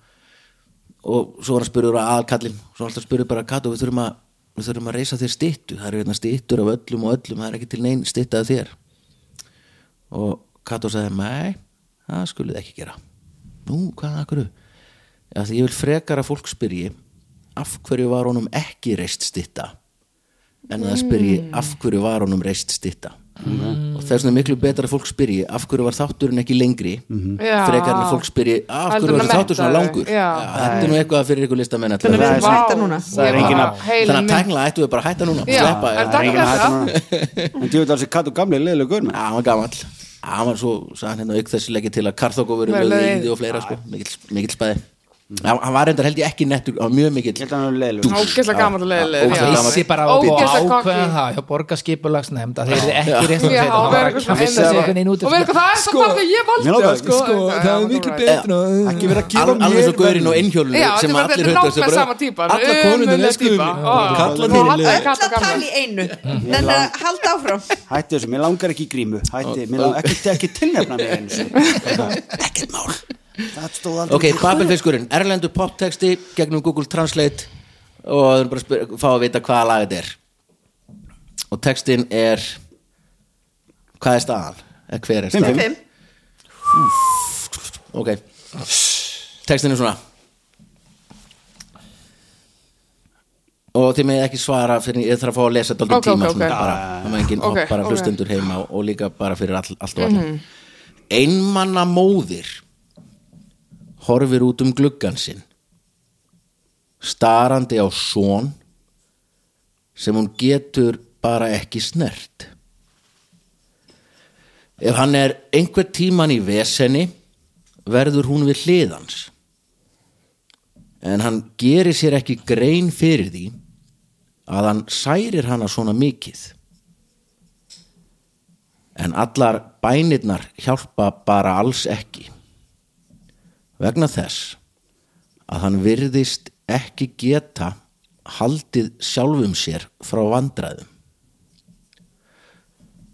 og svo var hann spurður að aðkallin svo alltaf spurður bara kat og við þurfum að við þurfum að reysa þér styttu það eru hérna styttur af öllum og öllum það er ekki til neinn styttað þér og Kato sagði nei, það skulið ekki gera nú, hvað það hverju já, því ég vil frekar að fólk spyrji af hverju var honum ekki reist stitta en að það spyrji af hverju var honum reist stitta og það er svona miklu betra að fólk spyrji af hverju var þátturinn ekki lengri
Já.
frekar en að fólk spyrji af hverju
Heldur
var
en að
þessi þáttur svona
mennta þau.
langur
Já.
þetta er nú eitthvað fyrir ykkur listamenn
Þannig að við
allavega.
erum bara að hætta núna
Það er engin að-
þannig að tæknilega ættum við bara að hætta núna
Já,
sleppa,
er
já.
það-
það er enginn að hætta núna En djúið alveg katt og gamli leðilega gaur
Já,
með
hann var gamall Já, hann var svo, sagði hann hérna auk þessi leggja til að Karþóko verið
Verið
lögðu
lögð í-
íði og fleira sko, mikill, mikill spæði hann, hann var reyndar held ég ekki nettur, hann var mjög mikill
Mhm. Ég held að hann er leðilega
Ógeðslega gaman og leiðileg
Ógeðslega gaman.
Vissi bara að
Ógeðslega
ákveða
cocky.
það hjá borgarskipulagsnefnd að þeir eru ekki reist
Já, og vera eitthvað svona
vissi
einmitt.
einhvern veginn út úr
Og vera eitthvað, það er
Sko,
það bara ég valdi
Mér langaði-
sko, eitthvað, já, alright.
Ekki vera að
Al,
gefa mér
alveg svo gaurinn og innhjólinu
Já,
sem
þetta er-
allir
þetta er
höfðu
nákvæmlega sama típan,
alla konunum
ömurleg
elskuðu
típa.
mig
Ó.
kallarnir
Og
eru
hann-
leiðir.
Katt
Öll
og
að
gamla.
tala í einu Þannig að halda áfram
Hætti þessu, mér langar ekki í grímu Hætti, mér langar ekki, ekki tilnefna mig einu sinni.
ekkert mál
Það stóð aldrei
ok, Babelfiskurinn, erlendu poptexti gegnum Google Translate og það er bara að spyr- fá að vita hvaða lag þetta er og textin er hvað er staðan? Eða hver er staðan?
Fimm
Ok Textin er svona Og þið með ekki svara fyrir ég þarf að fá að lesa þetta aldrei
Ok,
tíma
ok,
svona
ok.
bara, það maður enginn
Ok,
okay, bara
ok. Mhm.
hlustundur heima og, og líka bara fyrir all, allt og allir Einmanna móðir horfir út um gluggan sinn starandi á són sem hún getur bara ekki snert Ef hann er einhver tíman í veseni verður hún við hliðans en hann gerir sér ekki grein fyrir því að hann særir hana svona mikið en allar bænirnar hjálpa bara alls ekki vegna þess að hann virðist ekki geta haldið sjálfum sér frá vandræðum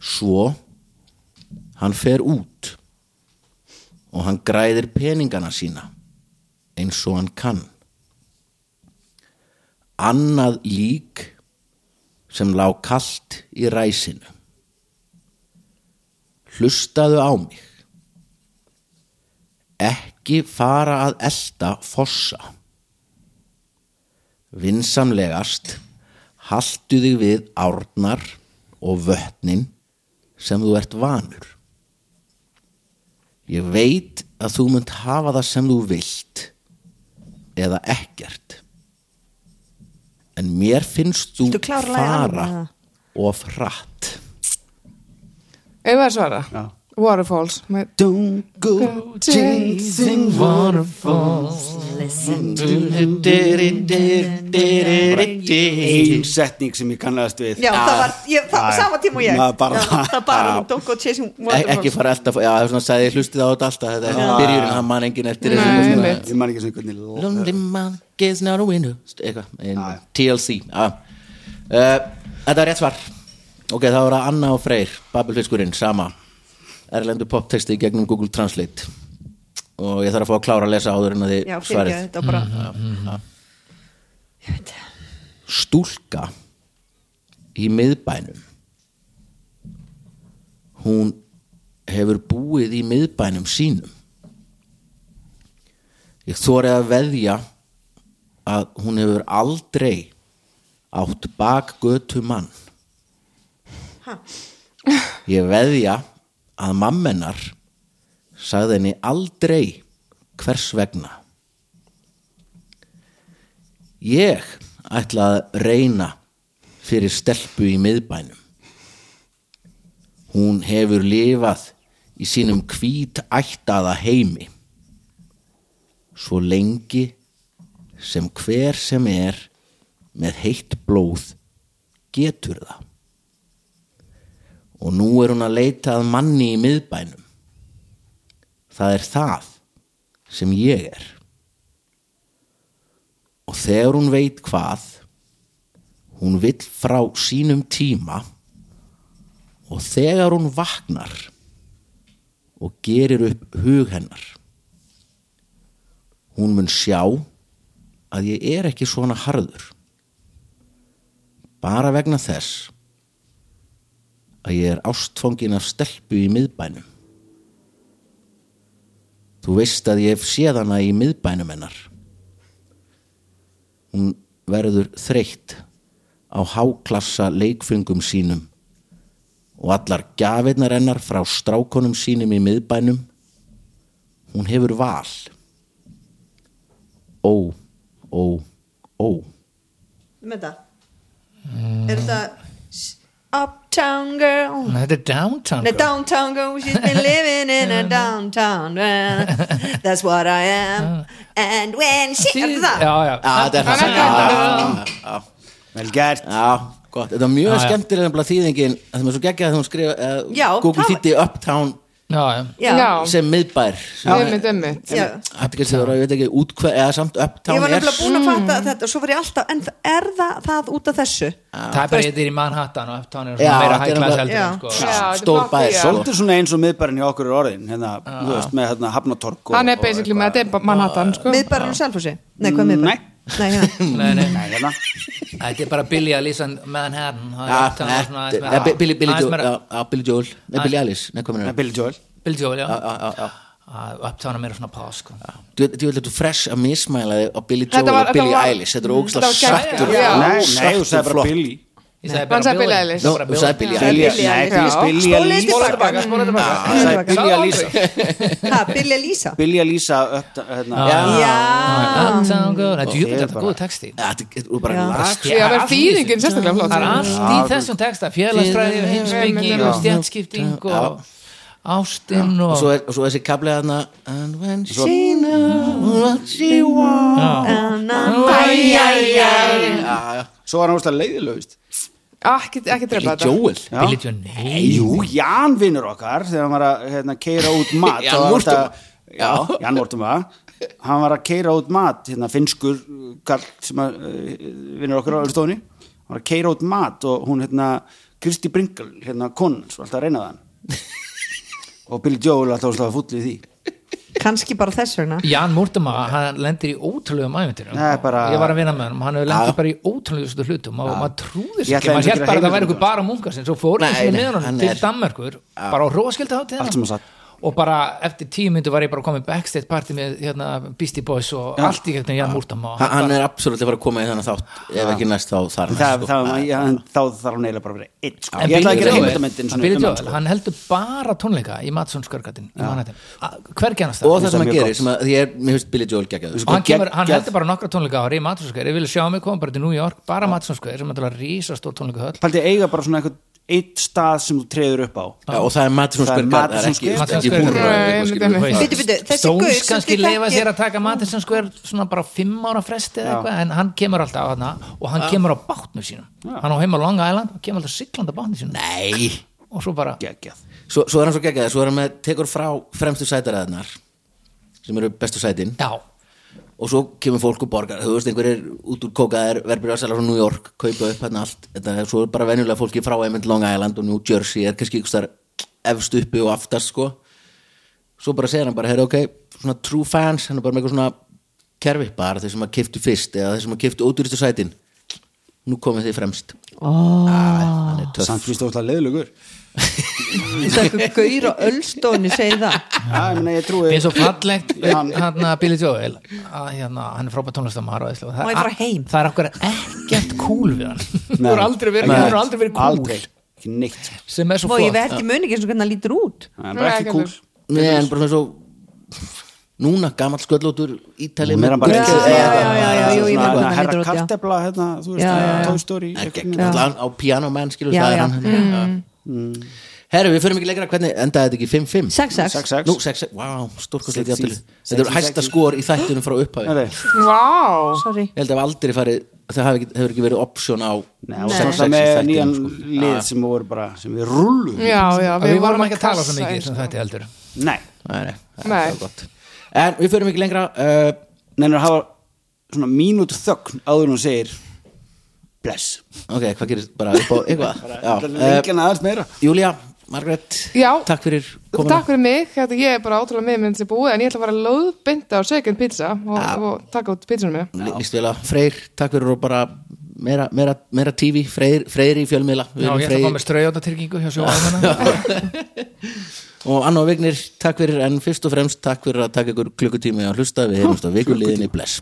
svo hann fer út og hann græðir peningana sína eins og hann kann annað lík sem lá kalt í ræsinu hlustaðu á mig ekki fara að elta fossa vinsamlegast haltu þig við árnar og vötnin sem þú ert vanur ég veit að þú munt hafa það sem þú vilt eða ekkert en mér finnst þú
Viltu klára lagið alveg,
fara
eða?
of hratt
Ef það er svara
Já
Waterfalls með
Don't go chasing
Waterfalls
Listen
Ein setning sem ég kannast við
Já, það var, ég, það,
Já, já.
sama tíma og ég
Maður bara
Já,
það.
Það bara,
Já.
don't go chasing
E- ekki
waterfalls
fara alltaf já, það er svona sagði ég hlustið á þetta alltaf þetta er byrjurinn, hann man engin eftir þessu
Nei,
svona-
einmitt.
Ég man ekki sem hvernig
Lonely man gets not a window eitthvað, ein-
Já, já.
TLC já. uh, þetta er rétt svar ok, það voru Anna og Freyr Babelfiskurinn, sama erlendu poptexti í gegnum Google Translate og ég þarf að fá að klára að lesa áður en að þið
Já, fyrir ekki,
svarið Mm-hmm.
þetta var bara
stúlka í miðbænum hún hefur búið í miðbænum sínum ég þorið að veðja að hún hefur aldrei átt bakgötu mann ég veðja að mammenar sagði henni aldrei hvers vegna Ég ætla að reyna fyrir stelpu í miðbænum. Hún hefur lifað í sínum hvítættaða heimi. Svo lengi sem hver sem er með heitt blóð getur það. Og nú er hún að leita að manni í miðbænum. Það er það sem ég er og þegar hún veit hvað hún vill frá sínum tíma og þegar hún vaknar og gerir upp hug hennar hún mun sjá að ég er ekki svona harður bara vegna þess að ég er ástfangin af stelpu í miðbænum þú veist að ég hef séð hana í miðbænum hennar hún verður þreytt á háklassa leikfengum sínum og allar gjafirnar hennar frá strákonum sínum í miðbænum hún hefur val ó, ó, ó
Með það Er þetta Uptown girl
Nei, þetta er downtown sko.
The
girl.
downtown girl She's been living in a downtown girl. That's what I am And when she Er það?
Já, já,
Já, þetta er það sem- Já, já, já.
Vel gert
Já, gott, þetta er mjög
já.
skemmtilega nefnilega þýðingin það er svo geggjað að hún skrifa eh,
Já,
Google
það-
þýtti Uptown
já, já.
Já, Sko,
Já.
sem miðbær sem er-
Einmitt, einmitt
já.
Þetta er það, ég veit ekki út hvað eða samt
Ég
Uptown
var
er
nefnilega búin að fatta þetta Svo var ég alltaf En er það það út af þessu?
Það er bara þetta er í Manhattan og Uptown er
Já,
svona meira
þetta er
hæglas
bara-
heldur en,
Já.
sko.
Já, þetta er
stór
flott,
bær
já.
sko.
Svolítið svona eins og miðbærin hjá okkur er orðin hérna, þú veist, með hérna hafnatork og-
Hann er
og
basically
eitthvað.
með þetta er Manhattan sko
Miðbærin og Selfossi? Nei, hvað er miðbærin? Nei, hérna.
Nei, nei,
Nei, hérna
þetta er bara Billy að lýsa Manhattan það er
Já,
Uptown er svona aðeins
Ah, þetta-
meira-
ja, Bi- Billy Billy
aðeins
Joel
meira-
já, já, Billy Joel, nei Billy Alice Nei, hvað
Nei,
mennur
Billy Joel
Billy Joel,
Ah,
já
það?
Að Uptown er meira svona pás sko.
Þú veit, þú veit, þú fresh að mismæla þig á Billy
Þetta
Joel
var-
og Billy
þetta var-
Eilish Þetta er ógstlega
þetta var geggjað.
sattur
Já.
Nei, nei, þú sagði bara Billy
Ég sagði
Hann
bara
sagði Billy
Billy
Eilish.
Nú, þú sagði Billy
Billy,
Eilish
nei,
Já.
Billy- Billy að
Spólið
lýsa
tilbaka
Spóla tilbaka
Ah.
Hann sagði
Tilbaka.
Billy að lýsa
Ha, Billy að lýsa
Billy að lýsa upp, hérna
Já.
Já,
Ah,
Ah.
Uptown girl, þetta er
Ég
júfnir
er
þetta
bara-
góð texti
Þetta er bara
Já.
lag
Já, það er þýðingin sérstaklega flott
Það er allt í þessum texta Félagsfræði og heimsbyggi
Já.
og stjætskipting og ástinn
Og
og
svo er- og svo þessi kaplið þarna And when she knows what she wants Ah.
Svo var hann úrslega leiðilegust
Ekki ekki drepa þetta
Joel
Billy Joel, nei
Jú, Jan vinnur okkar þegar hann var að hérna, keira út mat
Jan
þá var
Mortuma.
þetta- Já, Jan Mortuma Hann var að keira út mat hérna, finskur uh, karl sem að, uh, vinnur okkar á Ölstóni Hann var að keira út mat og hún hérna, Kristi Bringal, hérna konan svo alltaf að reyna það og Billy Joel alltaf að fúll í því
kannski bara þess vegna
Jan Múrtama, hann lendir í ótrúlegum æventurum
Nei, bara-
ég var að vinna með hann, hann hefur lendir bara í ótrúlegustu hlutum og maður trúði sér
Ég
ekki,
ætlaði
maður
einmitt
hér
að
bara að það
heyra
væri
um
ykkur bara munga sinn, svo fór
Nei,
ég sinni
nei,
með
hann
honum til
er-
Danmerkur, bara á róskildi hátíð
Allt sem hann satt.
og bara eftir tíu myndu var ég bara komið backstage party með hérna, Beastie Boys og allt í gegnum Jan Múrtama
Ha- Hann er absolutt að fara að koma í þannig þátt Ef ekki næst þá þar næst
það,
sko.
það, já, en þá þarf hann eiginlega bara að vera einn sko.
En
ég ætlaði
Billy
að gera um
Joel-
heimildamöndin
Billy Joel, hann heldur bara tónleika í Matsson skörgatinn í Manhattan, hvergi annars
Og
það
það
finnst
sem
það
hann
mjög
gerir
gott.
sem að- Því er, mér finnst Billy Joel geggjaður sko.
og hann, kemur, hann
geggjað.
heldur bara nokkra tónleika ári í Matsson skör, ég vilja sjá mig koma bara til New York, bara Matsson skör sem er að rísa stór tónleika höll
Paldi eiga bara svona eitthvað eitt stað sem þú treður upp á
Já, og það er Madison
Það er
Square Garden,
Madison
ekki,
Square
ekki
Garden.
húrra
Nei,
eitthvað,
einmitt,
skilur við.
einmitt.
Bíddu, bíddu, þessi gaur
Stones
sem
kannski
þið
leifa
þekkið-
sér að taka Madison Square svona bara fimm ára fresti eða
Já.
eitthvað en hann kemur alltaf á þarna og hann kemur á bátnum sínum hann á heima á Long Island og kemur alltaf siglandi á bátnum sínum
Nei,
og svo bara
geggjað
svo, svo er hann svo geggjað svo er hann með, tekur frá fremstu sætaræðnar sem eru bestu sætin
já,
og svo kemur fólk og borgar þú veist, einhverjir út úr kókaðir, verður að selja frá New York kaupa upp hérna allt þetta, er svo er bara venjulega fólki frá einmitt Long Island og New Jersey er kannski ykkur þar efst uppi og aftast sko svo bara segir hann bara, heyrðu ok, svona true fans hann er bara með eitthvað svona kerfi bara þeir sem að kiftu fyrst eða þeir sem að kiftu ódýristu sætin nú komið þið fremst oh. hann er töff
samt finnst þú alltaf leiðlugur
Þess að eitthvað gaur á öllstóni segi það
já, ég meina ég trúi
eins og fallegt
Hann-
hann að Billy Joel að, hérna, hann er frábæð tónlistamæður og æðislegur.
Má ég fara heim?
það er okkur ekkert cool við hann
Nei.
þú eru aldrei verið,
Nei.
þú eru aldrei verið cool
Aldrei. ekki neitt
sem er svo
Má ég
flott
verð í muni ekki eins og hvernig hann lítur út
Það er bara
Nei,
ekki kúl
Nei, en bara svona svo núna, gamall sköllótur ítali
Nú er hann bara
Já,
ekki-
já, já, já, já, jú, ég
Svona
veit hvað hann
herra
lítur út, já.
kartefla hérna, þú veist,
Já, já, já.
Toy Story einhvern veginn.
allan á piano menn skilur
Já,
það er
já.
hann
hérna.
mm. herru, við förum ekki lengra hvernig endaði þetta ekki 5-5
6-6
Sex, sex.
Nú, 6-6, wow, stórkostlegt
Sexy.
jafnvel Þetta eru
Sexy,
hæsta
sexy.
skor í þættunum frá upphafi
Nei,
Vá
Sorry
Ég held að hafa aldrei farið, það hafi ekki- hefur ekki verið option á
Nei, og
Nei.
svo
sex, sex í
með
þættinum,
nýjan
sko.
lið sem voru bara, sem við rullum
Já, já,
við, við vorum ekki að tala
kassa
svo mikið
eins
sem
og-
þetta heldur
Nei,
Nei, nei, það er
Nei.
það gott En við förum ekki lengra uh,
neina að hafa svona mínútu þögn áður en hún segir bless
Ok, hvað gerist bara upp á eitthvað
Það
Já,
er
uh,
enginn aðeins meira
Júlía, Margrét
Já.
Takk fyrir komuna
Takk fyrir mig, þetta ég er bara ótrúlega með minn sem búið en ég ætla að fara að löðbinda á second pizza og, og taka út pizzunum með
Lí- líst vel að Freyr, takk fyrir og bara meira, meira, meira TV, Freyr, Freyr í fjölmiðla Við
já,
erum
ég ætla að fá með straujótatilgingu hjá sjóðan
og Anna og Vignir, takk fyrir en fyrst og fremst takk fyrir að taka ykkur klukkutími að hlusta við heyrumst á vikuliðinni bless